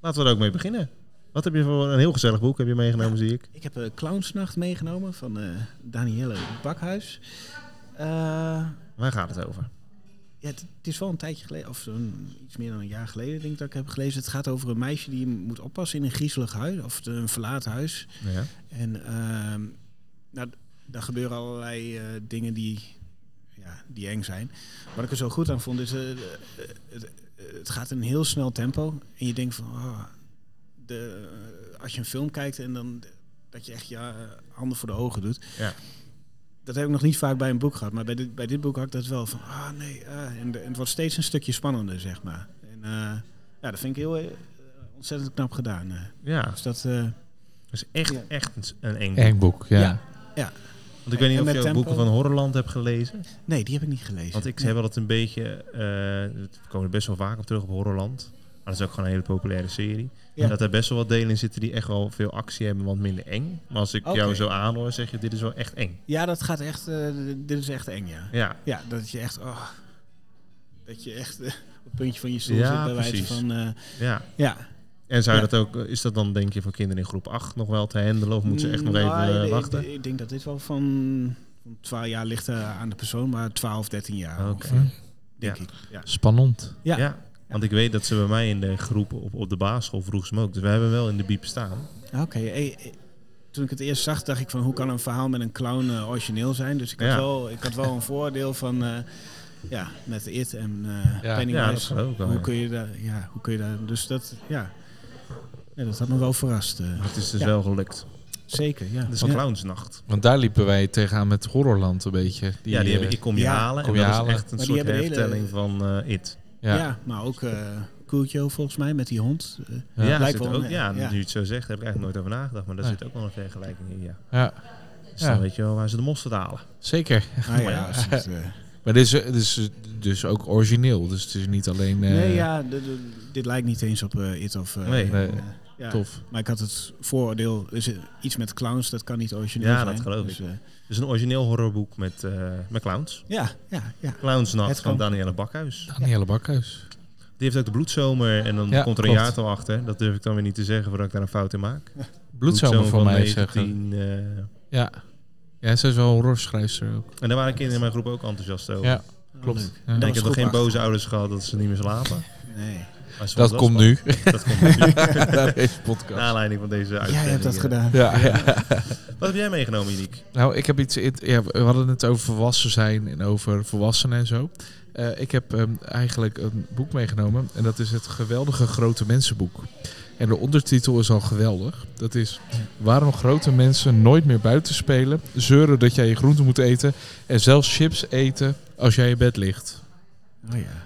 Speaker 1: Laten we er ook mee beginnen. Wat heb je voor een heel gezellig boek heb je meegenomen, zie ik.
Speaker 2: Ik heb eh, Clownsnacht meegenomen van eh Danielle Bakhuis. Eh,
Speaker 1: Waar gaat het over?
Speaker 2: ja, het, het is wel een tijdje geleden, of zo'n iets meer dan een jaar geleden denk ik dat ik heb gelezen. Het gaat over een meisje die moet oppassen in een griezelig huis, of een verlaten huis.
Speaker 1: Ja.
Speaker 2: En ehm nou, d- daar gebeuren allerlei eh, dingen die, ja, die eng zijn. Wat ik er zo goed aan vond is, eh, eh, het, het gaat in een heel snel tempo. En je denkt van, ah, de, eh, als je een film kijkt en dan dat je echt je eh, handen voor de ogen doet.
Speaker 1: Ja.
Speaker 2: Dat heb ik nog niet vaak bij een boek gehad, maar bij dit, bij dit boek had ik dat wel van, ah nee, ah, en, de- en het wordt steeds een stukje spannender, zeg maar. En eh, ja, dat vind ik heel eh, ontzettend knap gedaan. eh.
Speaker 1: Ja,
Speaker 2: Dus dat... eh,
Speaker 1: dat is echt,
Speaker 2: Ja.
Speaker 1: echt een- een eng boek.
Speaker 3: Eng boek, ja.
Speaker 2: Ja.
Speaker 1: Want ik weet niet
Speaker 2: En
Speaker 1: of je
Speaker 2: met
Speaker 1: ook
Speaker 2: tempo?
Speaker 1: boeken van Horrorland hebt gelezen.
Speaker 2: Nee, die heb ik niet gelezen.
Speaker 1: Want ik heb wel dat een beetje... eh we komen er best wel vaak op terug op Horrorland. Maar dat is ook gewoon een hele populaire serie.
Speaker 2: Ja.
Speaker 1: En dat er best wel wat delen in zitten die echt wel veel actie hebben, want minder eng. Maar als ik
Speaker 2: Oké.
Speaker 1: jou zo aanhoor, zeg je dit is wel echt eng.
Speaker 2: Ja, dat gaat echt. eh, dit is echt eng, ja.
Speaker 1: Ja,
Speaker 2: Ja, dat je echt. Oh, dat je echt eh, op het puntje van je stoel
Speaker 1: Ja,
Speaker 2: zit bij wijze
Speaker 1: precies.
Speaker 2: van. eh,
Speaker 1: ja.
Speaker 2: ja.
Speaker 1: En zou je
Speaker 2: Ja.
Speaker 1: dat ook, is dat dan denk je voor kinderen in groep 8 nog wel te handelen? Of moeten ze echt nog
Speaker 2: Nou,
Speaker 1: even eh,
Speaker 2: ik- ik-
Speaker 1: wachten?
Speaker 2: Ik, denk dat dit wel van. van 12 jaar ligt eh, aan de persoon, maar 12, 13 jaar.
Speaker 1: Oké.
Speaker 2: ongeveer, Denk
Speaker 1: Ja.
Speaker 2: ik. Ja.
Speaker 3: Spannend.
Speaker 1: Ja.
Speaker 2: Ja.
Speaker 1: want ik weet dat ze bij mij in de groep op, op de basisschool vroeg ze me ook. Dus we hebben wel in de biep staan.
Speaker 2: Oké. eh, eh, toen ik het eerst zag, dacht ik van hoe kan een verhaal met een clown eh, origineel zijn? Dus ik had,
Speaker 1: Ja.
Speaker 2: wel, ik had wel een voordeel van. eh, ja, met It en eh
Speaker 3: Ja.
Speaker 1: Ja, dat
Speaker 2: Pennywise.
Speaker 1: geloof ik wel. Nou
Speaker 2: Hoe
Speaker 1: ja.
Speaker 2: kun je daar, ja, hoe kun je daar, dus dat, ja. ja dat had me wel verrast. eh.
Speaker 1: Het is dus
Speaker 2: Ja.
Speaker 1: wel gelukt.
Speaker 2: Zeker, ja.
Speaker 1: Het is
Speaker 2: ja.
Speaker 1: een clownsnacht.
Speaker 3: Want daar liepen wij tegenaan met Horrorland een beetje. Die,
Speaker 1: ja, die hebben
Speaker 3: eh,
Speaker 1: ik kom je
Speaker 2: ja.
Speaker 1: halen.
Speaker 3: Kom
Speaker 1: en
Speaker 3: je
Speaker 1: dat
Speaker 3: halen.
Speaker 1: is echt een
Speaker 2: Maar die
Speaker 1: soort
Speaker 2: hebben de hele-
Speaker 1: hertelling van eh, It.
Speaker 2: Ja.
Speaker 3: ja.
Speaker 2: maar ook eh Cooltje volgens mij met die hond. Eh,
Speaker 1: Ja,
Speaker 3: Ja.
Speaker 1: er
Speaker 2: Lijkt
Speaker 1: zit
Speaker 2: wel
Speaker 1: ook,
Speaker 2: een-
Speaker 1: ja,
Speaker 2: ja.
Speaker 1: nu je het zo zegt, heb ik eigenlijk nooit over nagedacht. Maar daar
Speaker 3: Nee.
Speaker 1: zit ook wel een vergelijking in, ja.
Speaker 3: Ja,
Speaker 1: Dus
Speaker 3: Ja.
Speaker 1: dan weet je wel waar ze de mosterd halen.
Speaker 3: zeker.
Speaker 2: nou ja, als het, eh,
Speaker 3: Maar dit is, eh, dit is eh, dus ook origineel. Dus het is niet alleen eh,
Speaker 2: nee, ja, d- d- dit lijkt niet eens op eh, It of... eh,
Speaker 1: Nee.
Speaker 3: Nee.
Speaker 2: eh, ja.
Speaker 3: tof.
Speaker 2: Maar ik had het vooroordeel, dus eh, iets met clowns, dat kan niet origineel
Speaker 1: Ja,
Speaker 2: zijn.
Speaker 1: dat geloof
Speaker 2: dus, eh,
Speaker 1: Dus een origineel horrorboek met, eh, met clowns.
Speaker 2: ja, ja, ja.
Speaker 1: Clownsnacht
Speaker 2: Het
Speaker 1: van
Speaker 2: kan.
Speaker 1: Danielle Bakhuis.
Speaker 3: Danielle Bakhuis.
Speaker 1: Die heeft ook de bloedzomer en dan
Speaker 3: Ja,
Speaker 1: komt er een
Speaker 3: klopt.
Speaker 1: jaartal achter. Dat durf ik dan weer niet te zeggen voordat ik daar een fout in maak.
Speaker 3: Bloedzomer van mij zeggen.
Speaker 1: 19, eh,
Speaker 3: Ja. Ja, zij is wel een horrorschrijfster ook.
Speaker 1: en daar waren kinderen in mijn groep ook enthousiast over.
Speaker 3: Ja,
Speaker 2: Oh,
Speaker 3: klopt.
Speaker 2: leuk.
Speaker 3: Ja.
Speaker 1: En ik
Speaker 2: Dat was
Speaker 1: heb nog geen
Speaker 2: groep acht.
Speaker 1: boze ouders gehad dat ze niet meer slapen.
Speaker 2: Nee.
Speaker 1: Maar ze
Speaker 3: Dat
Speaker 1: vonden het
Speaker 3: komt
Speaker 1: wel
Speaker 3: nu.
Speaker 1: spannend. Dat komt nu.
Speaker 3: Naar deze
Speaker 1: Naar
Speaker 3: podcast.
Speaker 1: aanleiding van deze uitzending.
Speaker 2: Jij hebt dat
Speaker 1: eh.
Speaker 2: gedaan.
Speaker 3: Ja, ja.
Speaker 1: Wat heb jij meegenomen, Uniek?
Speaker 3: Nou, ik heb iets. in- Ja, we hadden het over volwassen zijn en over volwassenen en zo. Eh, ik heb ehm, eigenlijk een boek meegenomen en dat is het geweldige grote mensenboek. En de ondertitel is al geweldig. Dat is waarom grote mensen nooit meer buiten spelen, zeuren dat jij je groenten moet eten en zelfs chips eten als jij in bed ligt.
Speaker 2: Oh ja.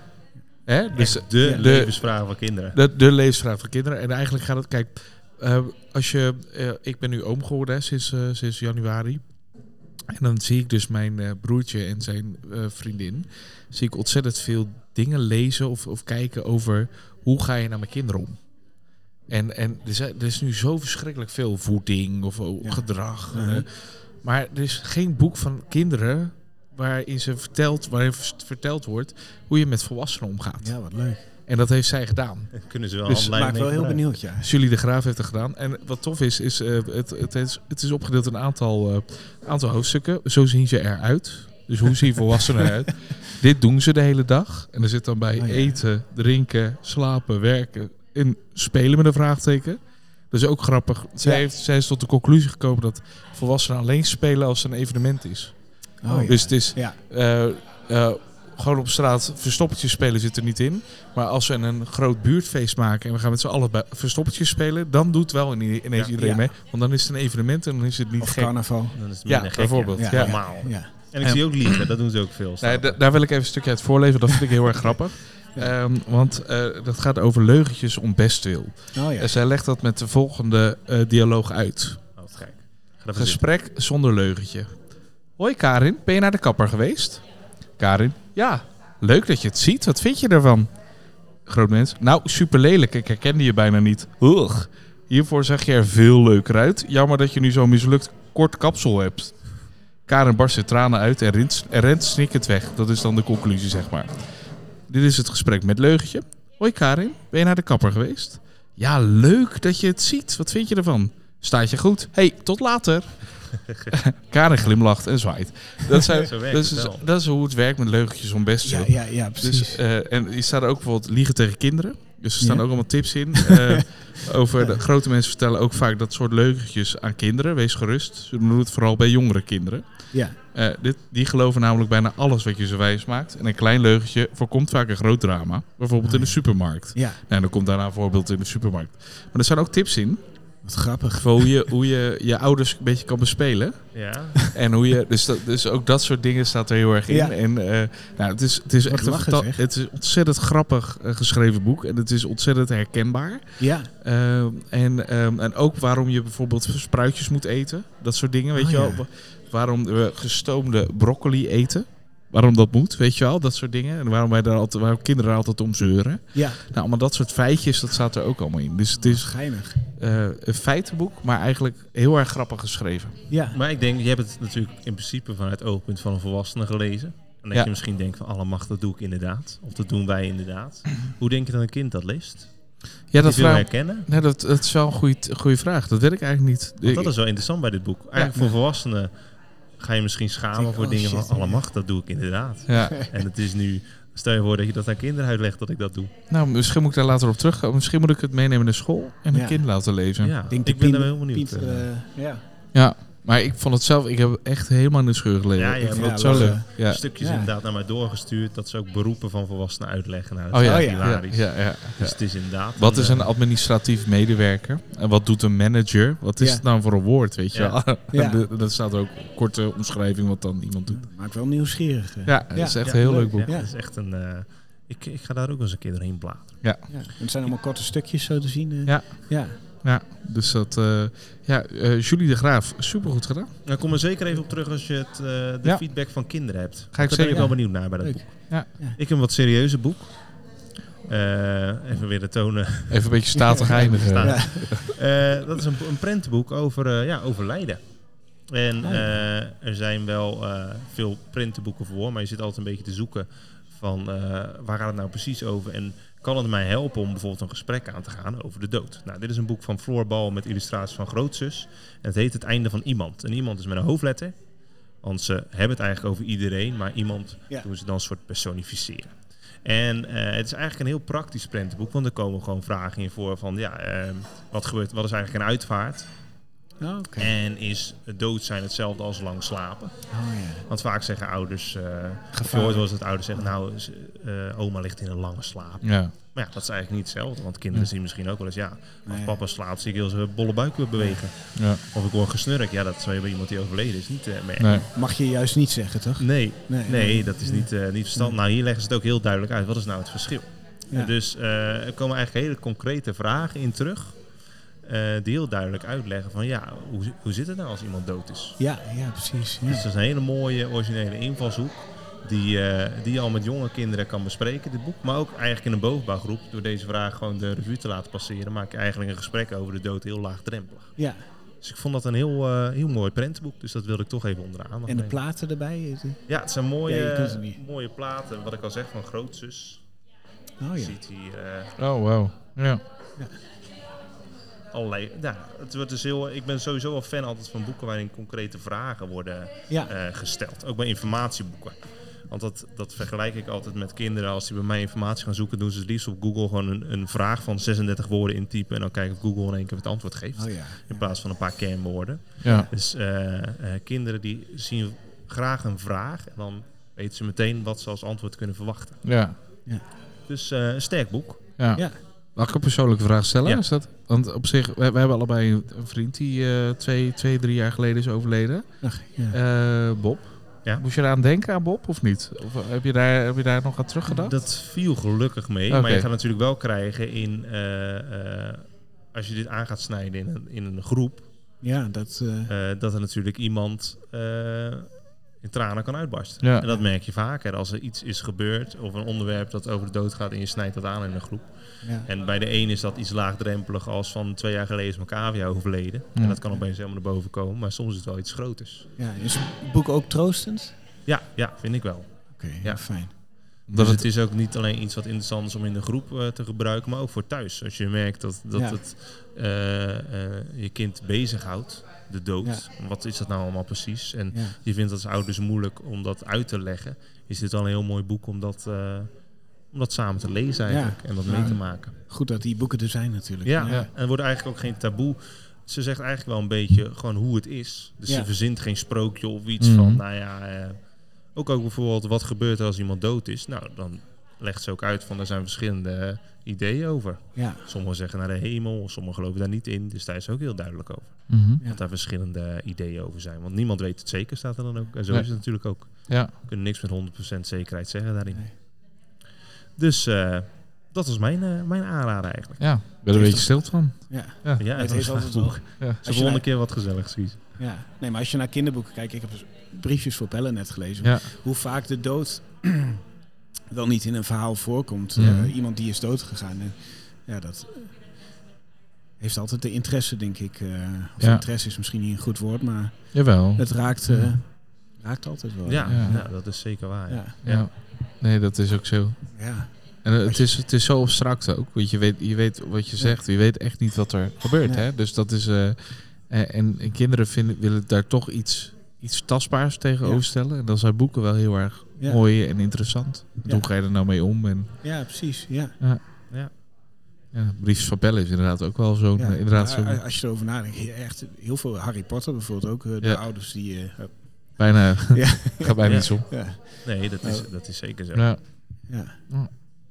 Speaker 3: Hè? Dus
Speaker 1: de
Speaker 3: de, de,
Speaker 1: levensvraag van kinderen.
Speaker 3: de, de levensvraag van kinderen. En eigenlijk gaat het, kijk, eh, als je, eh, ik ben nu oom geworden hè, sinds, eh, sinds januari. En dan zie ik dus mijn eh, broertje en zijn eh, vriendin, zie ik ontzettend veel dingen lezen of, of kijken over hoe ga je naar mijn kinderen om. En, en er, zijn- er is nu zo verschrikkelijk veel voeding of oh,
Speaker 2: Ja.
Speaker 3: gedrag. eh,
Speaker 2: Mhm.
Speaker 3: maar er is geen boek van kinderen waarin ze vertelt, waarin verteld wordt hoe je met volwassenen omgaat.
Speaker 2: Ja, wat leuk.
Speaker 3: En dat heeft zij gedaan.
Speaker 1: Kunnen ze wel
Speaker 3: Dus
Speaker 1: dus
Speaker 2: Maar ik
Speaker 1: handleiding
Speaker 2: ben wel
Speaker 1: mee
Speaker 2: heel
Speaker 1: gebruiken.
Speaker 2: benieuwd, ja.
Speaker 3: Julie de Graaf heeft het gedaan. En wat tof is, is eh, het, het, is het is opgedeeld in een aantal, eh, aantal hoofdstukken. Zo zien ze eruit. Dus hoe zien volwassenen eruit? Dit doen ze de hele dag. En er zit dan bij
Speaker 2: Oh ja.
Speaker 3: eten, drinken, slapen, werken en spelen met een vraagteken. Dat is ook grappig. Zij,
Speaker 2: Ja.
Speaker 3: heeft, zij is tot de conclusie gekomen dat volwassenen alleen spelen als er een evenement is.
Speaker 2: Oh, ja.
Speaker 3: Dus het is
Speaker 2: ja.
Speaker 3: eh, eh, gewoon op straat verstoppertjes spelen zit er niet in. Maar als we een groot buurtfeest maken en we gaan met z'n allen bij- verstoppertjes spelen, dan doet wel ine- ineens
Speaker 1: Ja.
Speaker 3: iedereen
Speaker 2: Ja.
Speaker 3: mee. Want dan is het een evenement en dan is het niet
Speaker 2: Of
Speaker 3: gek.
Speaker 2: carnaval.
Speaker 1: Dan is het
Speaker 3: Ja,
Speaker 1: minder gek,
Speaker 3: bijvoorbeeld.
Speaker 1: ja.
Speaker 3: Ja.
Speaker 1: Normaal.
Speaker 2: Ja.
Speaker 1: En ik
Speaker 3: En-
Speaker 1: zie ook liefde, dat doen ze ook veel.
Speaker 3: Nee,
Speaker 1: samen.
Speaker 3: da- daar wil ik even een stukje uit voorlezen, dat vind ik heel erg grappig. Ehm, want eh, dat gaat over leugentjes om bestwil.
Speaker 2: Oh ja.
Speaker 3: En zij legt dat met de volgende eh, dialoog uit.
Speaker 1: Oh, wat gek. Ga even zitten.
Speaker 3: Gesprek zonder leugentje. Hoi Karin, ben je naar de kapper geweest? Karin, ja. Leuk dat je het ziet, wat vind je ervan? Groot mens, nou super lelijk, ik herkende je bijna niet. Ugh. Hiervoor zag je er veel leuker uit. Jammer dat je nu zo'n mislukt kort kapsel hebt. Karin barst in tranen uit en rent, en rent snikkend weg. Dat is dan de conclusie, zeg maar. Dit is het gesprek met leugentje. Hoi Karin, ben je naar de kapper geweest? Ja, leuk dat je het ziet. Wat vind je ervan? Staat je goed? hey, tot later. Karin glimlacht en zwaait. Dat, zijn,
Speaker 1: Zo werkt
Speaker 3: dat,
Speaker 1: het
Speaker 3: is,
Speaker 1: wel.
Speaker 3: dat is hoe het werkt met leugentjes om best te
Speaker 2: Ja,
Speaker 3: doen.
Speaker 2: ja, ja, precies.
Speaker 3: Dus, eh, en hier staan ook bijvoorbeeld liegen tegen kinderen. Dus er staan
Speaker 2: Ja.
Speaker 3: ook allemaal tips in. eh, over de, grote mensen vertellen ook vaak dat soort leugentjes aan kinderen. Wees gerust. Ze doen het vooral bij jongere kinderen.
Speaker 2: ja.
Speaker 3: Eh, dit, die geloven namelijk bijna alles wat je ze wijs maakt. En een klein leugentje voorkomt vaak een groot drama. Bijvoorbeeld
Speaker 2: Ah,
Speaker 3: in de
Speaker 2: ja.
Speaker 3: supermarkt.
Speaker 2: ja,
Speaker 3: Nou, dan komt daarna een voorbeeld in de supermarkt. Maar er staan ook tips in.
Speaker 2: wat grappig.
Speaker 3: Voor hoe je hoe je, je ouders een beetje kan bespelen.
Speaker 1: Ja,
Speaker 3: En hoe je, dus, dat, dus ook dat soort dingen staat er heel erg in.
Speaker 2: Ja.
Speaker 3: En eh, nou, het is, het is
Speaker 2: Wat
Speaker 3: echt een
Speaker 2: lachen,
Speaker 3: fanta-
Speaker 2: zeg.
Speaker 3: het is een ontzettend grappig eh, geschreven boek. En het is ontzettend herkenbaar.
Speaker 2: Ja,
Speaker 3: Ehm, en, ehm, en ook waarom je bijvoorbeeld spruitjes moet eten. Dat soort dingen, weet
Speaker 2: Oh,
Speaker 3: je wel.
Speaker 2: ja.
Speaker 3: Wa- Waarom we gestoomde broccoli eten. Waarom dat moet, weet je wel. Dat soort dingen. En waarom, wij daar altijd, waarom kinderen er altijd om zeuren.
Speaker 2: ja.
Speaker 3: Nou, allemaal dat soort feitjes, dat staat er ook allemaal in. Dus het is
Speaker 2: Schijnig.
Speaker 3: eh, een feitenboek, maar eigenlijk heel erg grappig geschreven.
Speaker 2: Ja.
Speaker 1: maar ik denk, je hebt het natuurlijk in principe vanuit het oogpunt van een volwassene gelezen. En dat
Speaker 3: Ja.
Speaker 1: je misschien denkt van, alle macht, dat doe ik inderdaad. Of dat doen wij inderdaad. Hoe denk je dat een kind dat leest?
Speaker 3: Ja,
Speaker 1: Die
Speaker 3: dat,
Speaker 1: wil
Speaker 3: vraag,
Speaker 1: herkennen?
Speaker 3: nee, dat, dat is wel een goede, goede vraag. Dat weet ik eigenlijk niet.
Speaker 1: Want dat is wel interessant bij dit boek. Eigenlijk
Speaker 3: Ja.
Speaker 1: voor volwassenen ga je misschien schamen
Speaker 2: Denk,
Speaker 1: voor
Speaker 2: oh,
Speaker 1: dingen
Speaker 2: shit,
Speaker 1: van, alle
Speaker 2: ja.
Speaker 1: macht, dat doe ik inderdaad.
Speaker 3: ja.
Speaker 1: En het is nu, stel je voor dat je dat aan kinderen uitlegt dat ik dat doe.
Speaker 3: Nou, misschien moet ik daar later op terugkomen. Misschien moet ik het meenemen naar school en een
Speaker 2: Ja.
Speaker 3: kind laten lezen.
Speaker 1: Ja,
Speaker 2: Denk de
Speaker 1: ik ben
Speaker 2: Pien-
Speaker 1: daar heel benieuwd.
Speaker 2: Piet,
Speaker 1: eh,
Speaker 2: eh, ja.
Speaker 3: Ja, maar ik vond het zelf, ik heb echt helemaal in de scheur gelegen.
Speaker 1: Ja, ja,
Speaker 3: ik vond
Speaker 2: ja,
Speaker 3: het zo
Speaker 2: wel,
Speaker 3: leuk.
Speaker 2: eh,
Speaker 3: Ja.
Speaker 1: stukjes
Speaker 2: Ja.
Speaker 1: inderdaad naar mij doorgestuurd. Dat ze ook beroepen van volwassenen uitleggen. Nou, dat
Speaker 3: Oh
Speaker 1: is
Speaker 3: ja,
Speaker 1: echt
Speaker 2: ja,
Speaker 3: ja,
Speaker 1: hilarisch.
Speaker 3: ja, ja.
Speaker 1: Dus het is inderdaad...
Speaker 3: Wat is een
Speaker 1: eh,
Speaker 3: administratief medewerker? En wat doet een manager? Wat is
Speaker 2: Ja.
Speaker 3: het nou voor een woord, weet je
Speaker 1: Ja.
Speaker 3: wel?
Speaker 2: Ja.
Speaker 3: En de- Dat staat er ook korte omschrijving wat dan iemand doet.
Speaker 2: Maakt wel nieuwsgierig. eh.
Speaker 3: Ja, dat is echt
Speaker 1: ja,
Speaker 3: een heel leuk boek.
Speaker 1: Ja,
Speaker 2: Ja.
Speaker 1: dat is echt een... eh, ik, ik ga daar ook eens een keer doorheen bladeren.
Speaker 2: Ja. En Het zijn allemaal korte stukjes zo te zien. eh.
Speaker 3: Ja.
Speaker 2: ja.
Speaker 3: Ja, dus dat... eh, ja, eh, Julie de Graaf, supergoed gedaan.
Speaker 1: Nou, kom er zeker even op terug als je het, eh, de
Speaker 3: Ja.
Speaker 1: feedback van kinderen hebt.
Speaker 3: Ga ik
Speaker 1: Daar ben ik
Speaker 3: zeker-
Speaker 1: wel benieuwd naar bij dat
Speaker 2: Leuk.
Speaker 1: boek.
Speaker 3: Ja.
Speaker 2: Ja.
Speaker 1: Ik heb een wat serieuze boek. Eh, even weer de tonen.
Speaker 3: Even een beetje statig eindigen.
Speaker 1: Statig.
Speaker 3: Ja.
Speaker 2: Ja.
Speaker 1: Eh, dat is een, een prentenboek over eh ja, overlijden. En
Speaker 2: Oh ja.
Speaker 1: eh, er zijn wel eh, veel prentenboeken voor, maar je zit altijd een beetje te zoeken van eh, waar gaat het nou precies over en kan het mij helpen om bijvoorbeeld een gesprek aan te gaan over de dood. Nou, dit is een boek van Floor Bal met illustraties van Grootzus en het heet Het Einde van Iemand. En iemand is met een hoofdletter, want ze hebben het eigenlijk over iedereen, maar iemand
Speaker 2: Ja.
Speaker 1: doen ze dan een soort personificeren. En eh, het is eigenlijk een heel praktisch ehm, prentenboek, want er komen gewoon vragen in voor van ja, eh, wat, gebeurt, wat is eigenlijk een uitvaart?
Speaker 2: Oh, oké.
Speaker 1: En is dood zijn hetzelfde als lang slapen?
Speaker 2: Oh, ja.
Speaker 1: Want vaak zeggen ouders, eh of je
Speaker 2: Gevaarlijk.
Speaker 1: hoort wel eens dat ouders zeggen, nou, is, eh, oma ligt in een lange slaap.
Speaker 3: Ja.
Speaker 1: Maar ja, dat is eigenlijk niet hetzelfde. Want kinderen zien misschien ook wel eens, ja, als
Speaker 2: Nee.
Speaker 1: papa slaapt, zie ik heel zijn bolle buik weer bewegen.
Speaker 3: ja.
Speaker 1: Of ik hoor een gesnurk. Ja, dat zou je bij iemand die overleden is niet eh merken.
Speaker 3: Nee.
Speaker 2: Mag je juist niet zeggen, toch?
Speaker 1: Nee,
Speaker 2: Nee,
Speaker 1: nee,
Speaker 2: nee.
Speaker 1: dat is niet, eh, niet verstandig. Nou, hier leggen ze het ook heel duidelijk uit. Wat is nou het verschil?
Speaker 2: Ja.
Speaker 1: Dus eh, er komen eigenlijk hele concrete vragen in terug. eh, die heel duidelijk uitleggen van ja, hoe, hoe zit het nou als iemand dood is?
Speaker 2: Ja, ja precies.
Speaker 1: Dus
Speaker 2: Ja.
Speaker 1: dat is een hele mooie originele invalshoek. Die, eh, die je al met jonge kinderen kan bespreken, dit boek. Maar ook eigenlijk in een bovenbouwgroep. Door deze vraag gewoon de revue te laten passeren, maak je eigenlijk een gesprek over de dood heel laagdrempelig.
Speaker 2: ja.
Speaker 1: Dus ik vond dat een heel, eh, heel mooi prentenboek. Dus dat wilde ik toch even onder de aandacht
Speaker 2: En de
Speaker 1: brengen.
Speaker 2: platen erbij? eh,
Speaker 1: Ja, het zijn
Speaker 2: Ja, je
Speaker 1: mooie,
Speaker 2: kunt het niet.
Speaker 1: mooie platen. Wat ik al zeg van grootzus.
Speaker 2: Oh
Speaker 1: Je
Speaker 2: ja.
Speaker 1: ziet hier eh,
Speaker 3: Oh, wow. Ja.
Speaker 1: allerlei... Ja, het wordt dus heel, ik ben sowieso wel fan altijd van boeken waarin concrete vragen worden
Speaker 2: Ja.
Speaker 1: eh, gesteld. Ook bij informatieboeken. Want dat, dat vergelijk ik altijd met kinderen. Als die bij mij informatie gaan zoeken, doen ze het liefst op Google gewoon een, een vraag van 36 woorden intypen. En dan kijken of Google in één keer het antwoord geeft.
Speaker 2: Oh ja.
Speaker 1: In plaats van een paar kernwoorden.
Speaker 3: Ja.
Speaker 1: Dus eh, eh, kinderen die zien graag een vraag. En dan weten ze meteen wat ze als antwoord kunnen verwachten.
Speaker 3: Ja.
Speaker 1: Dus eh, een sterk boek.
Speaker 3: Ja.
Speaker 2: Ja.
Speaker 3: Mag ik een persoonlijke vraag stellen?
Speaker 1: Ja.
Speaker 3: Is dat, want op zich, we, we hebben allebei een, een vriend die eh, twee, twee, drie jaar geleden is overleden.
Speaker 2: Ach, ja.
Speaker 3: Eh, Bob.
Speaker 1: Ja.
Speaker 3: Moest je eraan denken aan Bob of niet? Of eh, heb je daar, heb je daar nog aan teruggedacht?
Speaker 1: Dat viel gelukkig mee.
Speaker 3: Oké.
Speaker 1: Maar je gaat natuurlijk wel krijgen in. eh, eh, als je dit aan gaat snijden in een, in een groep.
Speaker 2: ja, dat... eh,
Speaker 1: eh, dat er natuurlijk iemand. eh, in tranen kan uitbarsten.
Speaker 3: Ja.
Speaker 1: En dat merk je vaker. Als er iets is gebeurd. of een onderwerp dat over de dood gaat. en je snijdt dat aan in een groep.
Speaker 2: ja.
Speaker 1: En bij de een is dat iets laagdrempelig. als van twee jaar geleden is Macavia overleden.
Speaker 3: Ja.
Speaker 1: En dat kan opeens helemaal naar boven komen. Maar soms is het wel iets groters.
Speaker 2: ja. Is het boek ook troostend?
Speaker 1: Ja, ja vind ik wel.
Speaker 2: Oké, ja,
Speaker 1: Ja.
Speaker 2: fijn.
Speaker 3: Dat
Speaker 1: dus
Speaker 3: het,
Speaker 1: het is ook niet alleen iets wat interessant is om in de groep eh, te gebruiken, maar ook voor thuis. Als je merkt dat, dat
Speaker 2: Ja.
Speaker 1: het eh, eh, je kind bezighoudt, de dood. Wat is dat nou allemaal precies? En
Speaker 2: Ja.
Speaker 1: je vindt dat als ouders moeilijk om dat uit te leggen. Is dit al een heel mooi boek om dat, eh, om dat samen te lezen eigenlijk en dat
Speaker 2: Ja.
Speaker 1: mee te maken.
Speaker 2: Goed dat die boeken er zijn natuurlijk.
Speaker 1: Ja,
Speaker 3: Ja.
Speaker 1: en er wordt eigenlijk ook geen taboe. Ze zegt eigenlijk wel een beetje gewoon hoe het is. Dus
Speaker 2: Ja.
Speaker 1: ze verzint geen sprookje of iets
Speaker 3: Mhm.
Speaker 1: van, nou ja... eh, ook, ook bijvoorbeeld, wat gebeurt er als iemand dood is? Nou, dan legt ze ook uit van, daar zijn verschillende eh, ideeën over.
Speaker 2: Ja,
Speaker 1: Sommigen zeggen naar de hemel, sommigen geloven daar niet in. Dus daar is ook heel duidelijk over.
Speaker 3: Mhm.
Speaker 2: Ja.
Speaker 1: Dat daar verschillende eh, ideeën over zijn. Want niemand weet het zeker, staat er dan ook. En zo
Speaker 3: Nee.
Speaker 1: is het natuurlijk ook.
Speaker 3: ja.
Speaker 1: We kunnen niks met 100% zekerheid zeggen daarin.
Speaker 2: Nee.
Speaker 1: Dus eh, dat was mijn, eh, mijn aanrader eigenlijk.
Speaker 3: ja. Ik ben er een beetje stil van.
Speaker 2: ja.
Speaker 1: Ja,
Speaker 2: het
Speaker 1: was
Speaker 2: is
Speaker 1: een
Speaker 2: altijd
Speaker 1: boek.
Speaker 2: wel...
Speaker 3: Ja.
Speaker 1: Ze volgende keer wat gezelligs, Guus.
Speaker 2: Ja, nee, maar als je naar kinderboeken kijkt, ik heb dus briefjes voor Pelle net gelezen,
Speaker 3: Ja.
Speaker 2: hoe vaak de dood wel niet in een verhaal voorkomt.
Speaker 3: Ja.
Speaker 2: Eh, iemand die is doodgegaan. En, ja, dat eh, heeft altijd de interesse, denk ik. eh, of
Speaker 3: Ja.
Speaker 2: interesse is misschien niet een goed woord, maar
Speaker 3: Jawel.
Speaker 2: het raakt, eh,
Speaker 3: Ja.
Speaker 2: raakt altijd wel.
Speaker 1: Ja,
Speaker 3: Ja.
Speaker 1: ja, dat is zeker waar. Ja.
Speaker 2: ja.
Speaker 3: Ja. Nee, dat is ook zo.
Speaker 2: ja.
Speaker 3: En eh, het is, het is zo abstract ook, want je weet, je weet wat je zegt, je weet echt niet wat er gebeurt.
Speaker 2: Nee.
Speaker 3: Hè? Dus dat is. eh, eh, en, en kinderen vinden, willen daar toch iets, iets tastbaars tegenover stellen. En dan zijn boeken wel heel erg
Speaker 2: Ja.
Speaker 3: mooi en interessant. Want
Speaker 2: Ja.
Speaker 3: Hoe ga je er nou mee om? En
Speaker 2: Ja, precies. Ja.
Speaker 3: ja, Briefs van Pelle is inderdaad ook wel zo'n.
Speaker 2: Ja.
Speaker 3: eh, inderdaad
Speaker 2: Maar,
Speaker 3: zo'n
Speaker 2: eh, Als je erover nadenkt, he- echt heel veel Harry Potter bijvoorbeeld ook. eh, De
Speaker 3: Ja.
Speaker 2: ouders die... eh,
Speaker 3: bijna.
Speaker 2: Ja.
Speaker 3: gaat bijna
Speaker 1: Ja.
Speaker 3: iets om.
Speaker 2: ja,
Speaker 1: Nee, dat is, dat is zeker zo.
Speaker 3: Ja.
Speaker 2: ja.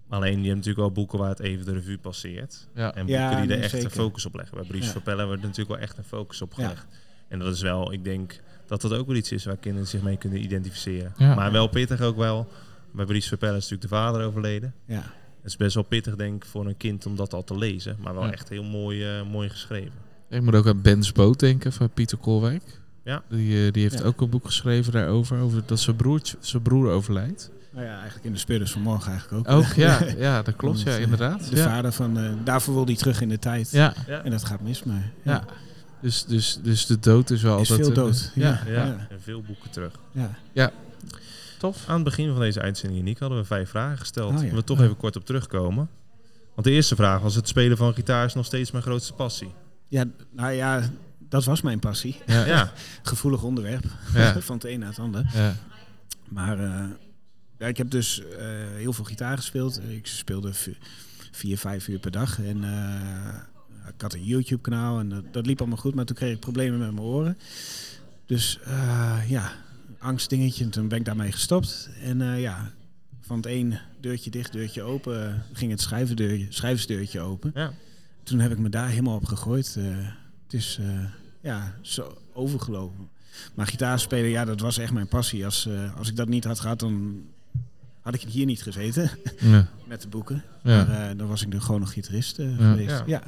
Speaker 1: Alleen je hebt natuurlijk wel boeken waar het even de revue passeert.
Speaker 3: Ja.
Speaker 1: En boeken
Speaker 2: Ja,
Speaker 1: die
Speaker 2: nee,
Speaker 1: er echt
Speaker 2: zeker.
Speaker 1: een focus op leggen. Bij Briefs
Speaker 2: Ja.
Speaker 1: voor Pellen wordt er natuurlijk wel echt een focus op
Speaker 2: Ja.
Speaker 1: gelegd. En dat is wel, ik denk dat dat ook wel iets is waar kinderen zich mee kunnen identificeren.
Speaker 3: Ja.
Speaker 1: Maar wel pittig ook wel. Bij Briefs voor Pellen is natuurlijk de vader overleden.
Speaker 2: ja.
Speaker 1: Het is best wel pittig denk ik voor een kind om dat al te lezen. Maar wel
Speaker 3: Ja.
Speaker 1: echt heel mooi, eh, mooi geschreven.
Speaker 3: Ik moet ook aan Ben's Boot denken van Pieter Kolwijk.
Speaker 1: Ja.
Speaker 3: Die, eh, die heeft
Speaker 2: Ja.
Speaker 3: ook een boek geschreven daarover, over dat zijn, broertje, zijn broer overlijdt.
Speaker 2: Nou ja, eigenlijk in de spelers van morgen eigenlijk ook.
Speaker 3: Ook, ja, ja, dat klopt, ja,
Speaker 2: eh,
Speaker 3: inderdaad.
Speaker 2: De
Speaker 3: ja.
Speaker 2: vader van, eh, daarvoor wil hij terug in de tijd.
Speaker 3: Ja,
Speaker 2: En dat gaat mis, maar ja,
Speaker 3: ja. Dus, dus, dus de dood is wel
Speaker 2: is
Speaker 3: altijd...
Speaker 2: veel
Speaker 3: een-
Speaker 2: dood. Ja,
Speaker 3: ja.
Speaker 1: Ja.
Speaker 2: ja,
Speaker 1: En veel boeken terug.
Speaker 2: ja.
Speaker 3: Tof.
Speaker 1: Aan het begin van deze uitzending, Nick, hadden we vijf vragen gesteld.
Speaker 2: Oh ja.
Speaker 1: Daar willen we toch even kort op terugkomen. Want de eerste vraag was: het spelen van gitaar is nog steeds mijn grootste passie.
Speaker 2: Ja, nou ja, dat was mijn passie.
Speaker 3: Ja, ja.
Speaker 1: Ja,
Speaker 2: Gevoelig onderwerp,
Speaker 3: ja.
Speaker 2: van het een naar het ander. Maar eh, ja, ik heb dus eh, heel veel gitaar gespeeld. Ik speelde v- vier, vijf uur per dag. En eh, ik had een YouTube-kanaal en dat, dat liep allemaal goed, maar toen kreeg ik problemen met mijn oren. Dus eh, ja, angstdingetje. En toen ben ik daarmee gestopt. En eh, ja, van het een deurtje dicht, deurtje open, eh, ging het schrijvendeurtje, schrijversdeurtje open.
Speaker 1: Ja.
Speaker 2: Toen heb ik me daar helemaal op gegooid. Eh, het is eh, ja, zo overgelopen. Maar gitaar spelen, ja, dat was echt mijn passie. Als, eh, als ik dat niet had gehad, dan had ik hier niet gezeten
Speaker 3: Ja.
Speaker 2: met de boeken.
Speaker 3: Ja.
Speaker 2: Maar eh, dan was ik er gewoon nog gitarist eh,
Speaker 3: Ja.
Speaker 2: geweest.
Speaker 1: Ja.
Speaker 2: Ja.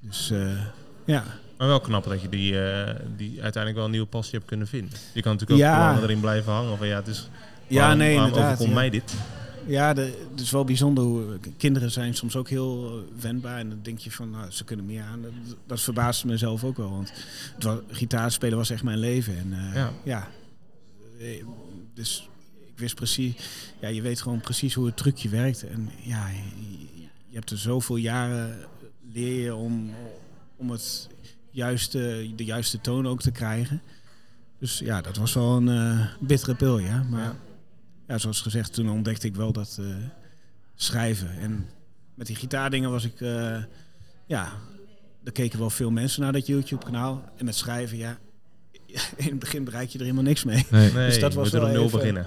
Speaker 2: Dus eh, ja.
Speaker 1: Maar wel knap dat je die, eh, die uiteindelijk wel een nieuwe passie hebt kunnen vinden. Je kan natuurlijk ook
Speaker 2: Ja.
Speaker 1: langer erin blijven hangen. Van ja, het is,
Speaker 2: ja,
Speaker 1: waarom-
Speaker 2: nee,
Speaker 1: waarom
Speaker 2: inderdaad.
Speaker 1: overkomt
Speaker 2: ja.
Speaker 1: mij dit?
Speaker 2: Ja, de, het is wel bijzonder hoe kinderen zijn soms ook heel eh, wendbaar. En dan denk je van, nou, ze kunnen meer aan. Dat, dat verbaast mezelf ook wel. Want het wa- gitaar spelen was echt mijn leven. En eh,
Speaker 1: Ja.
Speaker 2: ja. Eh, Dus ik wist precies, ja, je weet gewoon precies hoe het trucje werkt. En ja, je, je hebt er zoveel jaren leer je om, om het juiste, de juiste toon ook te krijgen. Dus ja, dat was wel een eh, bittere pil, ja. Maar
Speaker 1: Ja.
Speaker 2: ja. zoals gezegd, toen ontdekte ik wel dat eh, schrijven. En met die gitaardingen was ik, eh, ja, er keken wel veel mensen naar dat YouTube-kanaal. En met schrijven, ja, in het begin bereik je er helemaal niks mee.
Speaker 3: Nee.
Speaker 1: Nee,
Speaker 2: dus dat
Speaker 1: je
Speaker 2: was
Speaker 1: moet er
Speaker 2: wel
Speaker 1: op nul
Speaker 2: even-
Speaker 1: beginnen.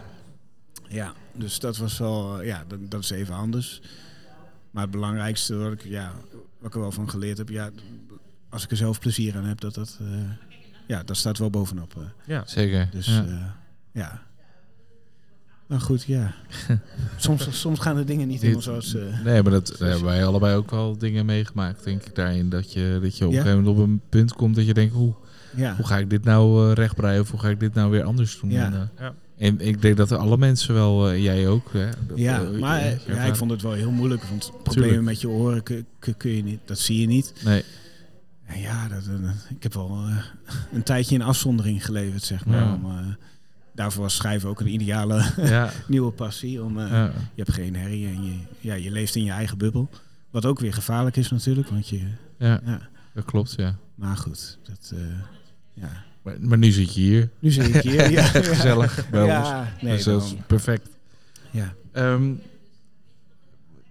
Speaker 2: Ja, dus dat was wel, eh, ja, dat, dat is even anders. Maar het belangrijkste wat ik, ja, wat ik er wel van geleerd heb, ja, als ik er zelf plezier aan heb, dat dat, eh, ja, dat staat wel bovenop. eh.
Speaker 3: Zeker.
Speaker 2: Dus
Speaker 3: ja.
Speaker 2: ja. ja. Maar goed, ja. soms, soms gaan de dingen niet helemaal zoals... eh,
Speaker 3: Nee, maar dat daar hebben wij allebei ook wel dingen meegemaakt, denk ik, daarin. Dat je, dat je op een
Speaker 2: Ja?
Speaker 3: gegeven moment op een punt komt dat je denkt, hoe,
Speaker 2: ja.
Speaker 3: hoe ga ik dit nou eh, rechtbreien of hoe ga ik dit nou weer anders doen?
Speaker 2: Ja.
Speaker 3: En, eh,
Speaker 1: Ja.
Speaker 3: en ik denk dat alle mensen wel, eh, jij ook. Hè, dat,
Speaker 2: Ja,
Speaker 3: eh,
Speaker 2: maar
Speaker 3: je
Speaker 2: eh, ja, ik
Speaker 3: ervaart-
Speaker 2: vond het wel heel moeilijk, want problemen met je oren kun, kun- kun je niet, dat zie je niet.
Speaker 3: Nee,
Speaker 2: En Ja, dat, eh, dat- ik heb wel eh, een tijdje in afzondering geleverd, zeg maar.
Speaker 3: Ja.
Speaker 2: Om, eh, daarvoor was schrijven ook een ideale
Speaker 3: ja,
Speaker 2: nieuwe passie. Om, eh,
Speaker 3: ja,
Speaker 2: Je hebt geen herrie en je, ja, je leeft in je eigen bubbel. Wat ook weer gevaarlijk is natuurlijk, want je...
Speaker 3: ja,
Speaker 2: Ja,
Speaker 3: dat klopt, ja.
Speaker 2: maar goed, dat... eh, ja.
Speaker 3: Maar, maar nu zit je hier.
Speaker 2: Nu zit ik hier. Ja,
Speaker 3: Gezellig bij ons.
Speaker 2: ja, nee,
Speaker 3: dus dat is
Speaker 2: daarom.
Speaker 3: perfect.
Speaker 2: ja.
Speaker 3: Ehm,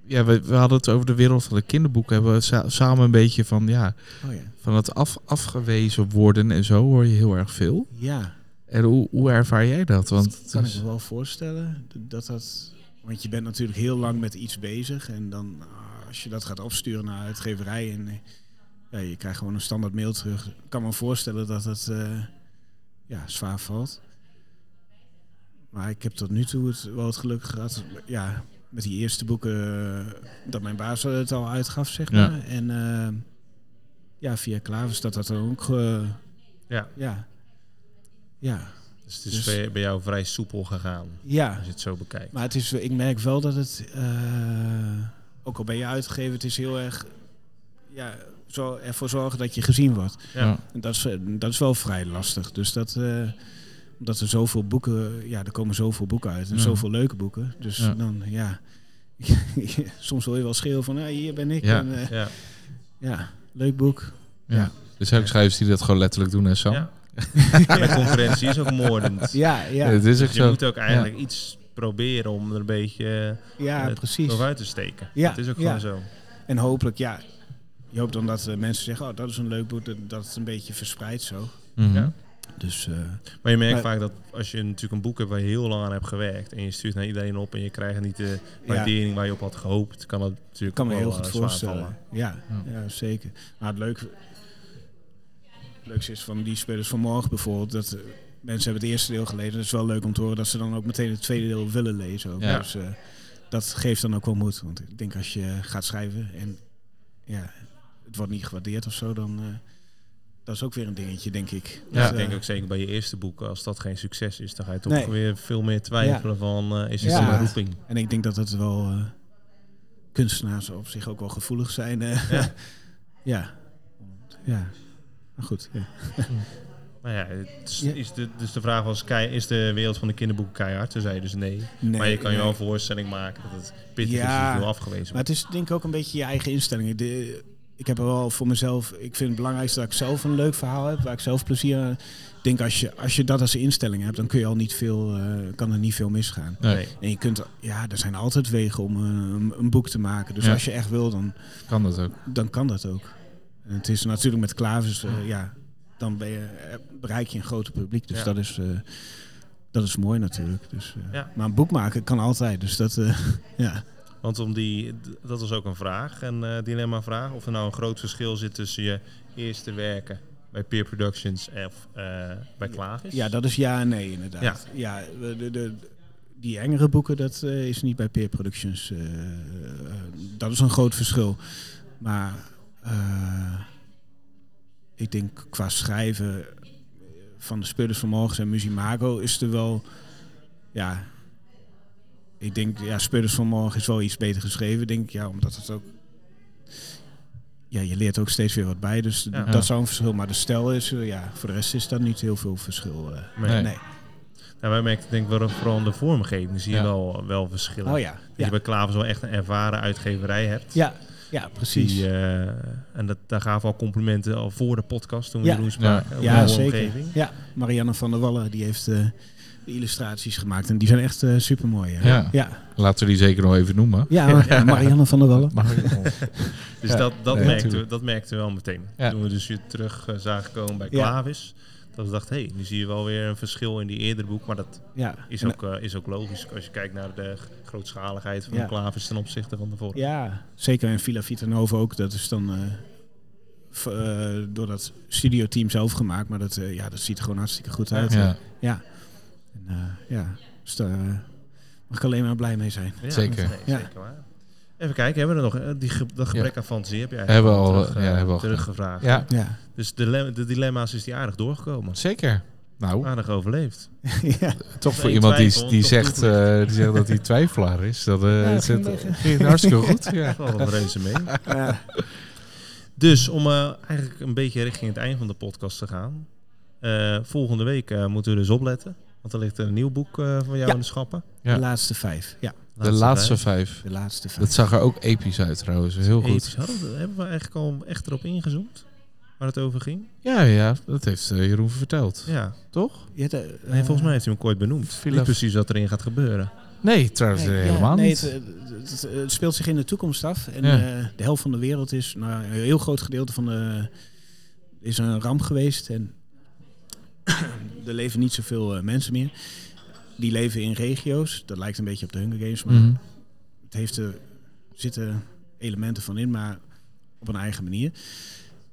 Speaker 3: ja, we, we hadden het over de wereld van de kinderboeken. Hebben we sa- samen een beetje van, ja,
Speaker 2: Oh, ja.
Speaker 3: van het af, afgewezen worden en zo hoor je heel erg veel.
Speaker 2: ja,
Speaker 3: En hoe, hoe ervaar jij dat? Want dus-
Speaker 2: dat kan ik me wel voorstellen. d- Dat dat, want je bent natuurlijk heel lang met iets bezig. En dan ah, als je dat gaat opsturen naar uitgeverij en eh, ja, je krijgt gewoon een standaard mail terug. Ik kan me voorstellen dat het eh, ja, zwaar valt. Maar ik heb tot nu toe het, wel het geluk gehad. Ja, met die eerste boeken eh, dat mijn baas het al uitgaf, zeg
Speaker 3: Ja.
Speaker 2: maar. En eh, ja, via Klavers dat dat dan ook... eh,
Speaker 1: Ja.
Speaker 2: ja. Ja.
Speaker 1: Dus het is
Speaker 2: Dus-
Speaker 1: bij- bij jou vrij soepel gegaan,
Speaker 2: Ja.
Speaker 1: als je het zo bekijkt.
Speaker 2: Maar het is, ik merk wel dat het, eh, ook al ben je uitgegeven, het is heel erg ja, zo, ervoor zorgen dat je gezien wordt.
Speaker 1: Ja.
Speaker 2: En dat, is, eh, dat is wel vrij lastig. Dus dat, eh, omdat er zoveel boeken, ja, er komen zoveel boeken uit en
Speaker 3: Ja.
Speaker 2: zoveel leuke boeken. Dus
Speaker 3: Ja.
Speaker 2: dan, ja, soms hoor je wel schreeuwen van, ah, hier ben ik.
Speaker 3: Ja.
Speaker 2: En, eh,
Speaker 1: Ja.
Speaker 2: ja, leuk boek.
Speaker 3: Ja. Er zijn ook schrijvers die dat gewoon letterlijk doen en zo.
Speaker 1: Ja. En de concurrentie is ook moordend.
Speaker 2: Ja, ja,
Speaker 3: Het is ook
Speaker 1: Dus je
Speaker 3: zo.
Speaker 1: moet ook eigenlijk iets proberen om er een beetje
Speaker 2: ja,
Speaker 1: eh,
Speaker 2: precies.
Speaker 1: nog uit te steken.
Speaker 2: Ja,
Speaker 1: Dat is ook
Speaker 2: ja.
Speaker 1: gewoon zo.
Speaker 2: En hopelijk, ja, je hoopt dan dat eh, mensen zeggen, oh, dat is een leuk boek, dat, dat het een beetje verspreidt zo.
Speaker 3: Mhm.
Speaker 1: Ja.
Speaker 2: Dus eh,
Speaker 1: Maar je merkt
Speaker 2: Maar-
Speaker 1: vaak dat als je natuurlijk een boek hebt waar je heel lang aan hebt gewerkt en je stuurt naar iedereen op en je krijgt niet de
Speaker 2: Ja.
Speaker 1: waardering waar je op had gehoopt, kan dat natuurlijk
Speaker 2: Ik kan me
Speaker 1: wel,
Speaker 2: heel
Speaker 1: eh,
Speaker 2: goed
Speaker 1: zwaar
Speaker 2: voorstellen.
Speaker 1: vallen.
Speaker 2: Ja,
Speaker 3: Ja.
Speaker 2: ja. zeker. Maar het leuke, het leukste is van die spelers van morgen bijvoorbeeld... dat eh, mensen hebben het eerste deel gelezen. Dat is wel leuk om te horen dat ze dan ook meteen het tweede deel willen lezen. ook.
Speaker 3: Ja.
Speaker 2: Dus eh, dat geeft dan ook wel moed. Want ik denk als je gaat schrijven en ja, het wordt niet gewaardeerd of zo... dan eh, dat is ook weer een dingetje, denk ik.
Speaker 1: Ja,
Speaker 2: Dus,
Speaker 1: ik
Speaker 2: eh,
Speaker 1: denk ook zeker bij je eerste boek, als dat geen succes is, dan ga je toch
Speaker 2: Nee.
Speaker 1: weer veel meer twijfelen van eh, is dit
Speaker 2: Ja.
Speaker 1: een roeping?
Speaker 2: En ik denk dat het wel... eh, kunstenaars op zich ook wel gevoelig zijn. eh.
Speaker 1: Ja.
Speaker 2: Ja. ja. Maar goed, ja.
Speaker 1: Nou ja, het is,
Speaker 2: Ja.
Speaker 1: is de, dus de vraag was, kei- is de wereld van de kinderboeken keihard? Toen zei je dus nee.
Speaker 2: Nee,
Speaker 1: maar je kan je
Speaker 2: nee.
Speaker 1: wel een voorstelling maken dat het pittig is dat
Speaker 2: Ja.
Speaker 1: je veel afgewezen
Speaker 2: Maar
Speaker 1: wordt.
Speaker 2: het is denk ik ook een beetje je eigen instelling. De- ik heb er wel voor mezelf. Ik vind het belangrijkste dat ik zelf een leuk verhaal heb, waar ik zelf plezier aan. Ik denk als je, als je dat als instelling hebt, dan kun je al niet veel, eh, kan er niet veel misgaan.
Speaker 3: Nee,
Speaker 1: Nee.
Speaker 2: En je kunt, ja, er zijn altijd wegen om eh, een, een boek te maken. Dus
Speaker 3: Ja.
Speaker 2: als je echt wil, dan,
Speaker 3: kan dat ook.
Speaker 2: dan kan dat ook. En het is natuurlijk met klavers, eh, ja, dan ben je, eh, bereik je een groter publiek. Dus
Speaker 1: Ja.
Speaker 2: dat, is, eh, dat is mooi natuurlijk. Dus, eh,
Speaker 1: Ja.
Speaker 2: Maar een boek maken kan altijd. Dus dat, eh, ja.
Speaker 1: Want om die, d- dat was ook een vraag, een eh, dilemma-vraag. Of er nou een groot verschil zit tussen je eerste werken bij Peer Productions of eh, bij Klavis.
Speaker 2: ja, dat is ja en nee inderdaad. Ja, de, de, de- die engere boeken, dat eh, is niet bij Peer Productions. eh, eh, dat is een groot verschil. Maar eh, ik denk qua schrijven van de spelers van morgens en Musimago is er wel... Ja, ik denk, ja, spelers van morgen is wel iets beter geschreven, denk ik. Ja, omdat het ook... Ja, je leert ook steeds weer wat bij, dus
Speaker 1: Ja.
Speaker 3: Ja.
Speaker 2: dat zou een verschil. Maar de stijl is, eh, ja, voor de rest is daar niet heel veel verschil. eh.
Speaker 1: Maar-
Speaker 3: Nee.
Speaker 2: Nee.
Speaker 1: Nou, wij merken denk ik wel vooral in de vormgeving zie je
Speaker 3: Ja.
Speaker 1: wel, wel verschillen.
Speaker 2: Oh ja.
Speaker 1: Dat
Speaker 2: Ja,
Speaker 1: je bij Klavis wel echt een ervaren uitgeverij hebt.
Speaker 2: ja, ja precies.
Speaker 1: Die, eh, en dat, daar gaven we al complimenten al voor de podcast toen we
Speaker 2: Ja.
Speaker 1: Jeroen spraken. over
Speaker 2: ja,
Speaker 1: de
Speaker 2: zeker.
Speaker 1: vormgeving.
Speaker 2: Ja, Marianne van der Wallen die heeft eh, de illustraties gemaakt. En die zijn echt eh super mooi.
Speaker 3: Ja.
Speaker 2: Ja.
Speaker 3: Laten we die zeker nog even noemen.
Speaker 2: Ja, maar- Marianne van der Wallen.
Speaker 3: Mag ik
Speaker 1: Dus
Speaker 3: Ja.
Speaker 1: dat, dat,
Speaker 3: Ja,
Speaker 1: merkten we,
Speaker 3: tuurlijk.
Speaker 1: dat merkten we wel meteen.
Speaker 3: Ja.
Speaker 1: Toen we dus je terug eh, zagen komen bij
Speaker 2: Ja.
Speaker 1: Klavis. Dat we dachten, hé, hey, nu zie je wel weer een verschil in die eerdere boek. Maar dat
Speaker 2: Ja.
Speaker 1: is
Speaker 2: En-
Speaker 1: ook, eh, is ook logisch als je kijkt naar de g- grootschaligheid van
Speaker 2: Ja.
Speaker 1: de Klavis ten opzichte van de vorige.
Speaker 2: eh, Ja, zeker in Villa Vitanova ook. Dat is dan eh, v- eh, door dat studioteam zelf gemaakt. Maar dat, eh, ja, dat ziet er gewoon hartstikke goed uit.
Speaker 3: Ja,
Speaker 2: En, eh, ja. Dus daar eh, mag ik alleen maar blij mee zijn.
Speaker 1: Ja,
Speaker 3: Zeker.
Speaker 1: nee,
Speaker 2: Ja.
Speaker 1: zeker waar. Even kijken, hebben we er nog eh, die ge- dat gebrek aan fantasie? Heb je eigenlijk
Speaker 3: Hebben we al,
Speaker 1: terug,
Speaker 3: ja,
Speaker 1: eh,
Speaker 3: hebben we al
Speaker 1: teruggevraagd?
Speaker 3: ja,
Speaker 2: Ja.
Speaker 1: Dus de, lem- de dilemma's is die aardig doorgekomen.
Speaker 3: zeker. Nou,
Speaker 1: Aardig overleefd.
Speaker 2: ja.
Speaker 3: toch voor
Speaker 1: Nee,
Speaker 3: iemand die,
Speaker 1: twijfel,
Speaker 3: die,
Speaker 1: toch
Speaker 3: zegt,
Speaker 1: toegelicht.
Speaker 3: eh, die zegt dat hij twijfelaar is. Dat eh,
Speaker 2: Ja,
Speaker 3: het
Speaker 2: ging
Speaker 3: zit-
Speaker 2: lekker.
Speaker 3: ging hartstikke goed. Ja.
Speaker 1: Wel een reuze mee.
Speaker 2: Ja.
Speaker 1: Dus om eh, eigenlijk een beetje richting het einde van de podcast te gaan. eh, volgende week eh, moeten we dus opletten. Want er ligt een nieuw boek eh, van jou
Speaker 2: Ja.
Speaker 1: in de schappen.
Speaker 3: Ja.
Speaker 2: De laatste vijf. Ja,
Speaker 3: De laatste vijf.
Speaker 2: de laatste vijf.
Speaker 3: Dat zag er ook episch uit trouwens. Heel
Speaker 1: vijf.
Speaker 3: goed.
Speaker 1: Episch. Hadden we- hebben we eigenlijk al echt erop ingezoomd? Waar het over ging?
Speaker 3: Ja, ja, dat heeft eh, Jeroen verteld.
Speaker 1: Ja.
Speaker 3: Toch?
Speaker 2: Ja, de-
Speaker 1: Nee,
Speaker 2: eh,
Speaker 1: volgens mij heeft hij hem kort benoemd.
Speaker 3: Philaf-
Speaker 1: Niet precies wat erin gaat gebeuren.
Speaker 3: Nee, trouwens
Speaker 2: Nee,
Speaker 3: eh,
Speaker 2: ja,
Speaker 3: helemaal
Speaker 2: nee,
Speaker 3: niet.
Speaker 2: Het, het- het- het speelt zich in de toekomst af. En
Speaker 3: Ja.
Speaker 2: eh, de helft van de wereld is, nou, een heel groot gedeelte van de is een ramp geweest. En er leven niet zoveel eh, mensen meer. Die leven in regio's. Dat lijkt een beetje op de Hunger Games, maar
Speaker 3: Mhm.
Speaker 2: het heeft er zitten elementen van in, maar op een eigen manier.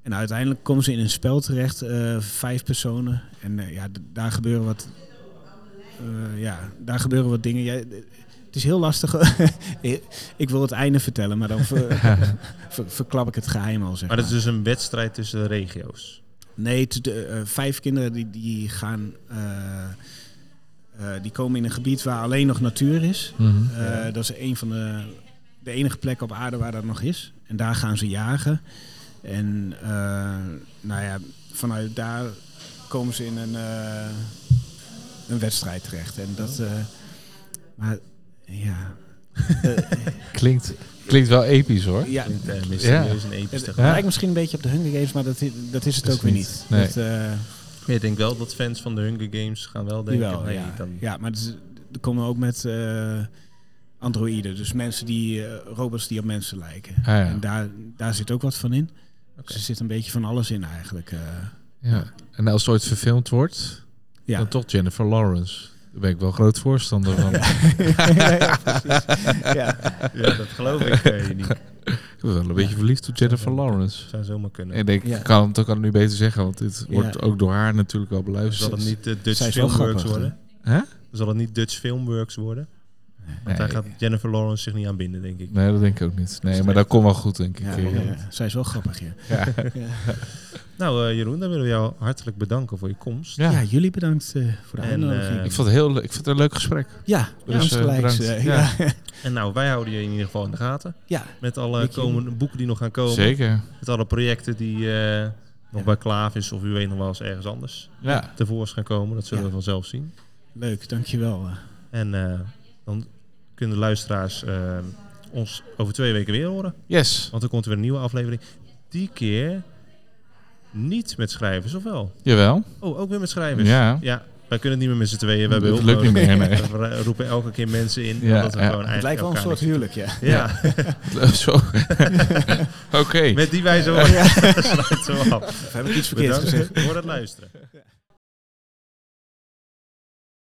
Speaker 2: En uiteindelijk komen ze in een spel terecht, eh, vijf personen. En eh, ja, d- daar gebeuren wat, eh, ja, daar gebeuren wat dingen. Jij, het is heel lastig. ik wil het einde vertellen, maar dan ver- ver- verklap ik het geheim al. Zeg
Speaker 1: Maar dat is dus een wedstrijd tussen de regio's.
Speaker 2: Nee, het- de, eh, vijf kinderen die, die gaan. eh, eh, die komen in een gebied waar alleen nog natuur is.
Speaker 3: Mhm.
Speaker 2: Eh, Dat is een van de, de enige plekken op aarde waar dat nog is. En daar gaan ze jagen. En eh, nou ja, vanuit daar komen ze in een, eh, een wedstrijd terecht. En dat. eh, maar ja. Eh,
Speaker 3: Klinkt, klinkt wel episch hoor.
Speaker 2: ja.
Speaker 1: Klinkt, eh, mysterieus en episch
Speaker 2: Het
Speaker 1: tegelijk.
Speaker 2: lijkt misschien een beetje op de Hunger Games, maar dat, i- dat is het
Speaker 3: Dat is
Speaker 2: ook weer
Speaker 3: niet.
Speaker 2: niet.
Speaker 3: Nee.
Speaker 2: Dat, eh,
Speaker 1: Maar ik denk wel dat fans van de Hunger Games gaan wel denken...
Speaker 2: Jawel,
Speaker 1: nee,
Speaker 2: ja.
Speaker 1: dan,
Speaker 2: Ja, maar het is- er komen ook met eh, androïden. Dus mensen die, eh, robots die op mensen lijken.
Speaker 3: Ah, ja.
Speaker 2: En daar, daar zit ook wat van in.
Speaker 1: Oké.
Speaker 2: Dus er zit een beetje van alles in eigenlijk. eh.
Speaker 3: Ja. En als het ooit verfilmd wordt,
Speaker 2: ja.
Speaker 3: dan toch Jennifer Lawrence. Daar ben ik wel groot voorstander van.
Speaker 2: ja, precies. Ja.
Speaker 1: Ja, dat geloof ik eh, niet.
Speaker 3: Ik ben wel een beetje verliefd op Jennifer Lawrence.
Speaker 1: zou zomaar kunnen.
Speaker 3: En ik denk,
Speaker 2: Ja.
Speaker 3: ik kan, dat kan ik nu beter zeggen, want dit wordt
Speaker 2: Ja.
Speaker 3: ook door haar natuurlijk wel
Speaker 1: Zal
Speaker 3: beluisterd.
Speaker 1: het niet de
Speaker 2: Zij
Speaker 1: Dutch
Speaker 2: is wel
Speaker 1: Filmworks
Speaker 2: grappig,
Speaker 1: worden?
Speaker 3: Hè?
Speaker 1: Zal het niet Dutch Filmworks worden? Want daar
Speaker 3: Nee,
Speaker 1: gaat Jennifer Lawrence zich niet aan binden, denk ik.
Speaker 3: nee, dat denk ik ook niet. Nee, maar dat komt wel goed, denk ik.
Speaker 2: Ja,
Speaker 3: Eh,
Speaker 2: ja, zij is wel grappig, ja.
Speaker 3: Ja.
Speaker 1: Nou, eh, Jeroen, dan willen we jou hartelijk bedanken voor je komst.
Speaker 3: Ja.
Speaker 2: Ja, jullie bedankt eh, voor de
Speaker 1: En,
Speaker 2: uitnodiging.
Speaker 1: eh,
Speaker 3: Ik vond het heel, le- ik vond het een leuk gesprek.
Speaker 2: ja,
Speaker 3: dus,
Speaker 2: dus,
Speaker 3: eh,
Speaker 2: gelijk.
Speaker 3: bedankt.
Speaker 2: ja. Ja.
Speaker 1: En nou, wij houden je in ieder geval in de gaten.
Speaker 2: Ja.
Speaker 1: Met alle
Speaker 2: Dank je.
Speaker 1: komende boeken die nog gaan komen.
Speaker 3: Zeker.
Speaker 1: Met alle projecten die eh, nog
Speaker 2: Ja.
Speaker 1: bij Klavis of u weet nog wel eens ergens anders
Speaker 3: Ja.
Speaker 1: tevoorschijn gaan komen. Dat zullen
Speaker 2: Ja.
Speaker 1: we vanzelf zien.
Speaker 2: Leuk, dankjewel. eh.
Speaker 1: En eh, dan kunnen de luisteraars eh, ons over twee weken weer horen.
Speaker 3: Yes.
Speaker 1: Want dan komt er weer een nieuwe aflevering. Die keer niet met schrijvers, of wel?
Speaker 3: Jawel.
Speaker 1: Oh, ook weer met schrijvers.
Speaker 3: Ja.
Speaker 1: Ja, Wij kunnen het niet meer met z'n tweeën. We hebben
Speaker 3: Dat
Speaker 1: hulp
Speaker 3: lukt niet
Speaker 1: nodig.
Speaker 3: meer,
Speaker 1: We roepen elke keer mensen in.
Speaker 3: Ja,
Speaker 1: omdat we
Speaker 3: ja.
Speaker 1: gewoon
Speaker 3: Het
Speaker 1: eigenlijk
Speaker 2: Het lijkt wel een
Speaker 1: elkaar
Speaker 2: soort huwelijk, ja.
Speaker 1: niet- Ja,
Speaker 3: Zo. Oké.
Speaker 1: met die wijze woorden sluiten we af.
Speaker 2: Of heb ik iets verkeerds
Speaker 1: Bedankt
Speaker 2: gezegd?
Speaker 1: voor het luisteren.